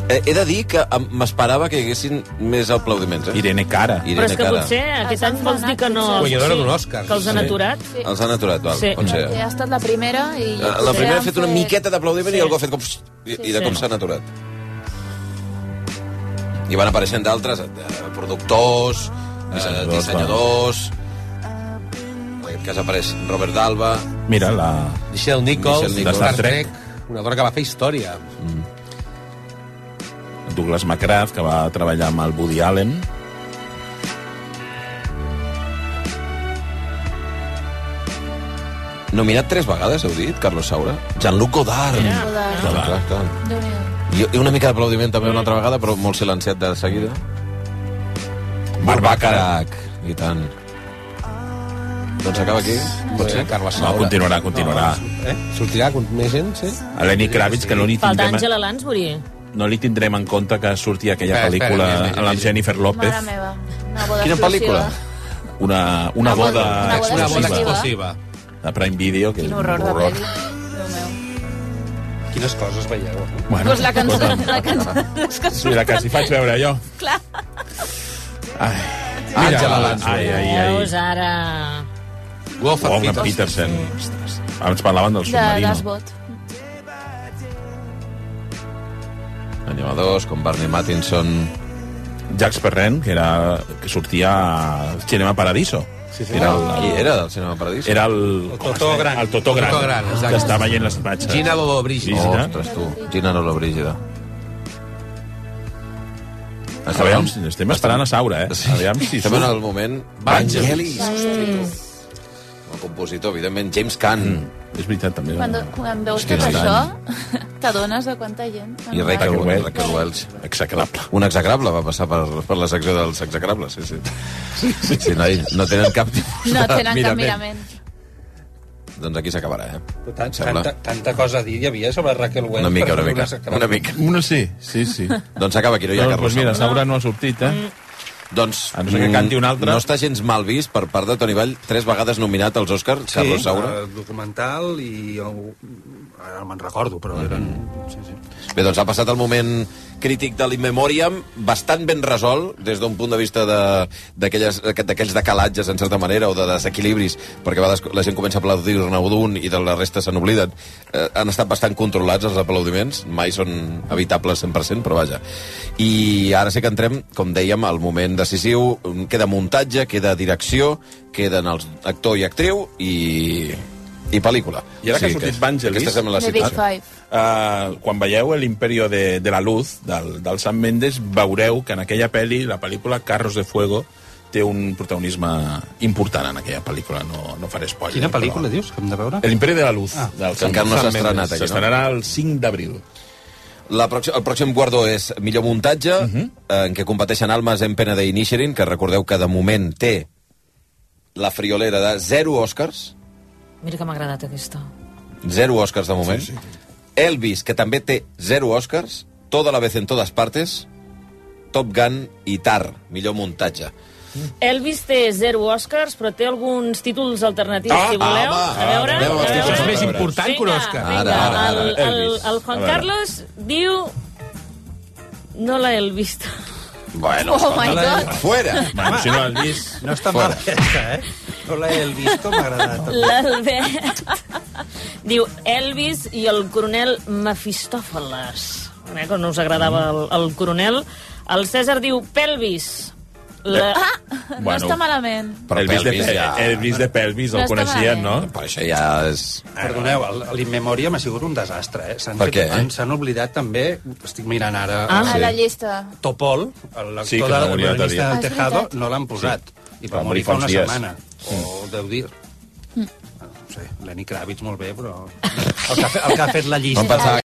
Speaker 1: Eh, He de dir que em- m'esperava que hi haguessin més aplaudiments, eh?
Speaker 4: Irene Cara.
Speaker 8: Però és que potser aquest any vols dir que no...
Speaker 1: Guanyadora d'un
Speaker 8: Sí,
Speaker 1: Oscar.
Speaker 8: Que els han
Speaker 1: Sí.
Speaker 8: aturat.
Speaker 1: Els han aturat, val,
Speaker 8: Sí.
Speaker 1: pot ser.
Speaker 17: Que ha estat la primera i...
Speaker 1: La, la primera ha fet una miqueta d'aplaudiment
Speaker 17: Sí.
Speaker 1: i algú ha fet com... pss, I, i de
Speaker 17: Sí.
Speaker 1: com s'han aturat. I van apareixent d'altres, eh, productors, eh, dissenyadors... En aquest cas apareix Robert Dalba...
Speaker 4: Mira, la...
Speaker 2: Michelle Nichols,
Speaker 1: Michelle
Speaker 2: de
Speaker 1: Nichols.
Speaker 2: Star Trek. Una dona que va fer història.
Speaker 4: Douglas McGrath, que va treballar amb el Woody Allen.
Speaker 1: Nominat tres vegades, heu dit, Carlos Saura? Jean-Luc Godard.
Speaker 17: Jean-Luc Godard.
Speaker 1: Clar, clar, clar. I, I una mica d'aplaudiment també una altra vegada, però molt silenciat de seguida. Barbacarac. I tant. Doncs acaba aquí, pot ser?
Speaker 2: Carles
Speaker 4: No, continuarà, continuarà.
Speaker 2: Eh? Sortirà con- més gent, sí?
Speaker 4: A Lenny Kravitz, que no li
Speaker 8: Falta
Speaker 4: tindrem,
Speaker 8: Àngela Lansbury.
Speaker 4: no li tindrem en compte que surti aquella
Speaker 2: Espera, espera,
Speaker 4: pel·lícula
Speaker 2: més, més,
Speaker 4: amb la
Speaker 2: més.
Speaker 4: Jennifer
Speaker 17: Mare
Speaker 4: López.
Speaker 17: meva. Una
Speaker 1: Eh?
Speaker 17: boda
Speaker 1: Quina
Speaker 17: exclusiva.
Speaker 1: pel·lícula?
Speaker 4: Una, una,
Speaker 17: Una boda-
Speaker 4: boda,
Speaker 17: una boda
Speaker 2: Ah,
Speaker 4: explosiva.
Speaker 17: explosiva.
Speaker 4: De Prime Video. Que
Speaker 17: Quin
Speaker 4: és
Speaker 17: horror
Speaker 4: un
Speaker 17: de pel·li.
Speaker 5: Quines coses veieu? eh?
Speaker 4: Bueno,
Speaker 17: Doncs la cançó-
Speaker 4: escolta'm.
Speaker 17: la cançó- les cançons
Speaker 4: Mira, que si faig veure jo.
Speaker 17: Clar.
Speaker 4: Ai.
Speaker 1: Àngela Lansbury.
Speaker 4: Ai, ai, ai.
Speaker 8: Veus, ara...
Speaker 2: Wolf
Speaker 4: Wolfgang Petersen. Ostres. Abans parlaven del submarino.
Speaker 17: d'esbot.
Speaker 1: Animadors com Barney Mattinson...
Speaker 4: Jacques Perrin, que, era, que sortia a Cinema Paradiso. Sí, sí. Era el,
Speaker 1: Qui era del Cinema Paradiso?
Speaker 4: era el...
Speaker 5: El Totó Gran.
Speaker 4: El Totó Gran.
Speaker 2: Totó Gran, exacte.
Speaker 4: que està veient les imatges.
Speaker 2: Gina Lollobrigida.
Speaker 4: Gina.
Speaker 1: Ostres, tu. Gina Lollobrigida.
Speaker 4: Aviam, si- estem esperant a Saura, eh? Aviam si
Speaker 1: Estem en
Speaker 4: surt.
Speaker 1: el moment...
Speaker 4: Vangelis.
Speaker 1: Vangelis. El compositor, evidentment, James Caan.
Speaker 4: És veritat, també.
Speaker 17: Quan, quan veus
Speaker 1: Hòstia,
Speaker 17: tot
Speaker 1: no.
Speaker 17: això, <laughs> t'adones de quanta gent...
Speaker 1: I Raquel, Raquel, Welch. Raquel Welch.
Speaker 4: Execrable.
Speaker 1: Un execrable va passar per, per la secció dels execrables, sí, sí. sí, sí, sí no, hi- no tenen cap tipus
Speaker 17: No
Speaker 1: de
Speaker 17: tenen cap mirament.
Speaker 1: Doncs aquí s'acabarà, eh?
Speaker 5: Tant,
Speaker 1: Sembla.
Speaker 5: tanta, tanta cosa a dir hi havia sobre Raquel Welch.
Speaker 1: Una mica,
Speaker 5: per
Speaker 1: una
Speaker 5: fer
Speaker 1: mica.
Speaker 5: sacra-
Speaker 1: Una mica.
Speaker 4: Una sí, sí, sí.
Speaker 1: Doncs acaba aquí, no hi ha
Speaker 4: Doncs,
Speaker 1: cap
Speaker 4: pues mira,
Speaker 1: rosa.
Speaker 4: Saura no ha sortit,
Speaker 17: Mm,
Speaker 4: eh?
Speaker 1: Doncs,
Speaker 4: A no ser que
Speaker 1: mm,
Speaker 4: canti un altre.
Speaker 1: No està gens mal vist per part de Toni Vall, tres vegades nominat als Oscars, sí, Carlos Saura.
Speaker 5: eh, documental i... el- Ara no me'n recordo, però eren... Sí, sí.
Speaker 1: Bé, doncs ha passat el moment crític de l'Inmemoriam, bastant ben resolt des d'un punt de vista de- d'aquelles- d'aquells decalatges, en certa manera, o de desequilibris, perquè a vegades la gent comença a aplaudir-ne o d'un i de la resta se n'obliden. Eh, han estat bastant controlats els aplaudiments, mai són evitables 100%, però vaja. I ara sí que entrem, com dèiem, al moment decisiu, queda muntatge, queda direcció, queden els actor i actriu i, i pel·lícula.
Speaker 4: I ara que ha sortit Vangelis-
Speaker 1: Aquesta sembla la
Speaker 17: The Big
Speaker 1: situació.
Speaker 17: Five.
Speaker 4: Uh, quan veieu El imperio de, de la luz del, del Sam Mendes, veureu que en aquella pel·li, la pel·lícula Carros de Fuego, té un protagonisme important en aquella pel·lícula, no, no faré spoiler.
Speaker 5: Quina pel·lícula dius que hem de veure?
Speaker 4: El imperio de la luz.
Speaker 5: Ah.
Speaker 4: del
Speaker 1: Que
Speaker 4: Sam-
Speaker 1: encara no
Speaker 4: Sam
Speaker 1: s'ha
Speaker 4: Mendes.
Speaker 1: estrenat aquí, no?
Speaker 4: S'estrenarà el 5 d'abril.
Speaker 1: La pròxim, el pròxim guardó és millor muntatge,
Speaker 4: Mhm.
Speaker 1: eh, en què competeixen Almas en Pena de Inisherin, que recordeu que de moment té la friolera de zero Oscars,
Speaker 8: Mira que m'ha agradat aquesta.
Speaker 1: zero Oscars de moment, sí, sí. Elvis, que també té zero Oscars, Toda la vez en todas partes, Top Gun i Tar, millor muntatge.
Speaker 8: Elvis té zero Oscars, però té alguns títols alternatius,
Speaker 1: Ah,
Speaker 8: si voleu.
Speaker 1: ah, va,
Speaker 8: a veure,
Speaker 1: ah, veure,
Speaker 8: a veure.
Speaker 1: és més
Speaker 2: important que un Òscar.
Speaker 8: Vinga,
Speaker 1: Ara, ara, ara,
Speaker 8: el, el,
Speaker 4: Elvis.
Speaker 8: el
Speaker 4: A
Speaker 8: Juan
Speaker 4: veure.
Speaker 8: Carlos diu... No l'he vist. <laughs>
Speaker 1: Bueno,
Speaker 17: Oh my God.
Speaker 1: fuera!
Speaker 4: Bueno, si no l'has vist...
Speaker 5: No està
Speaker 1: Fora.
Speaker 5: mal aquesta, eh? No l'he vist, m'ha agradat.
Speaker 8: L'Albert diu Elvis i el coronel Mefistòfeles. Eh, que no us agradava el, el coronel. El César diu Pelvis.
Speaker 2: Eh,
Speaker 8: La...
Speaker 17: Ah, no està malament.
Speaker 1: Però
Speaker 4: Elvis,
Speaker 1: Elvis
Speaker 4: de,
Speaker 1: ja-
Speaker 4: Elvis de Pelvis, el
Speaker 17: No està eh?
Speaker 4: coneixien, no?
Speaker 1: Per això ja és...
Speaker 5: Perdoneu, el- l'Inmemòria m'ha sigut un desastre, eh? S'han
Speaker 1: Per
Speaker 5: fet-
Speaker 1: què?
Speaker 5: han- s'han oblidat també, estic mirant ara,
Speaker 8: Ah,
Speaker 5: eh,
Speaker 17: A la llista.
Speaker 5: Topol, l'actor
Speaker 4: Sí, que
Speaker 5: de
Speaker 4: no hauria
Speaker 5: la
Speaker 4: de dir.
Speaker 5: lista
Speaker 17: Ah,
Speaker 5: del
Speaker 17: és
Speaker 5: Tejado,
Speaker 17: veritat.
Speaker 5: no l'han posat. I
Speaker 4: Va
Speaker 5: va morir
Speaker 4: morir
Speaker 5: fa
Speaker 4: fa
Speaker 5: una
Speaker 4: uns dies. Mm.
Speaker 5: setmana, Oh, o deu dies.
Speaker 17: Mm.
Speaker 5: Ah, No sé, Lenny Kravitz molt bé, però... El que ha, fe- el que ha fet la llista...
Speaker 1: Em pensava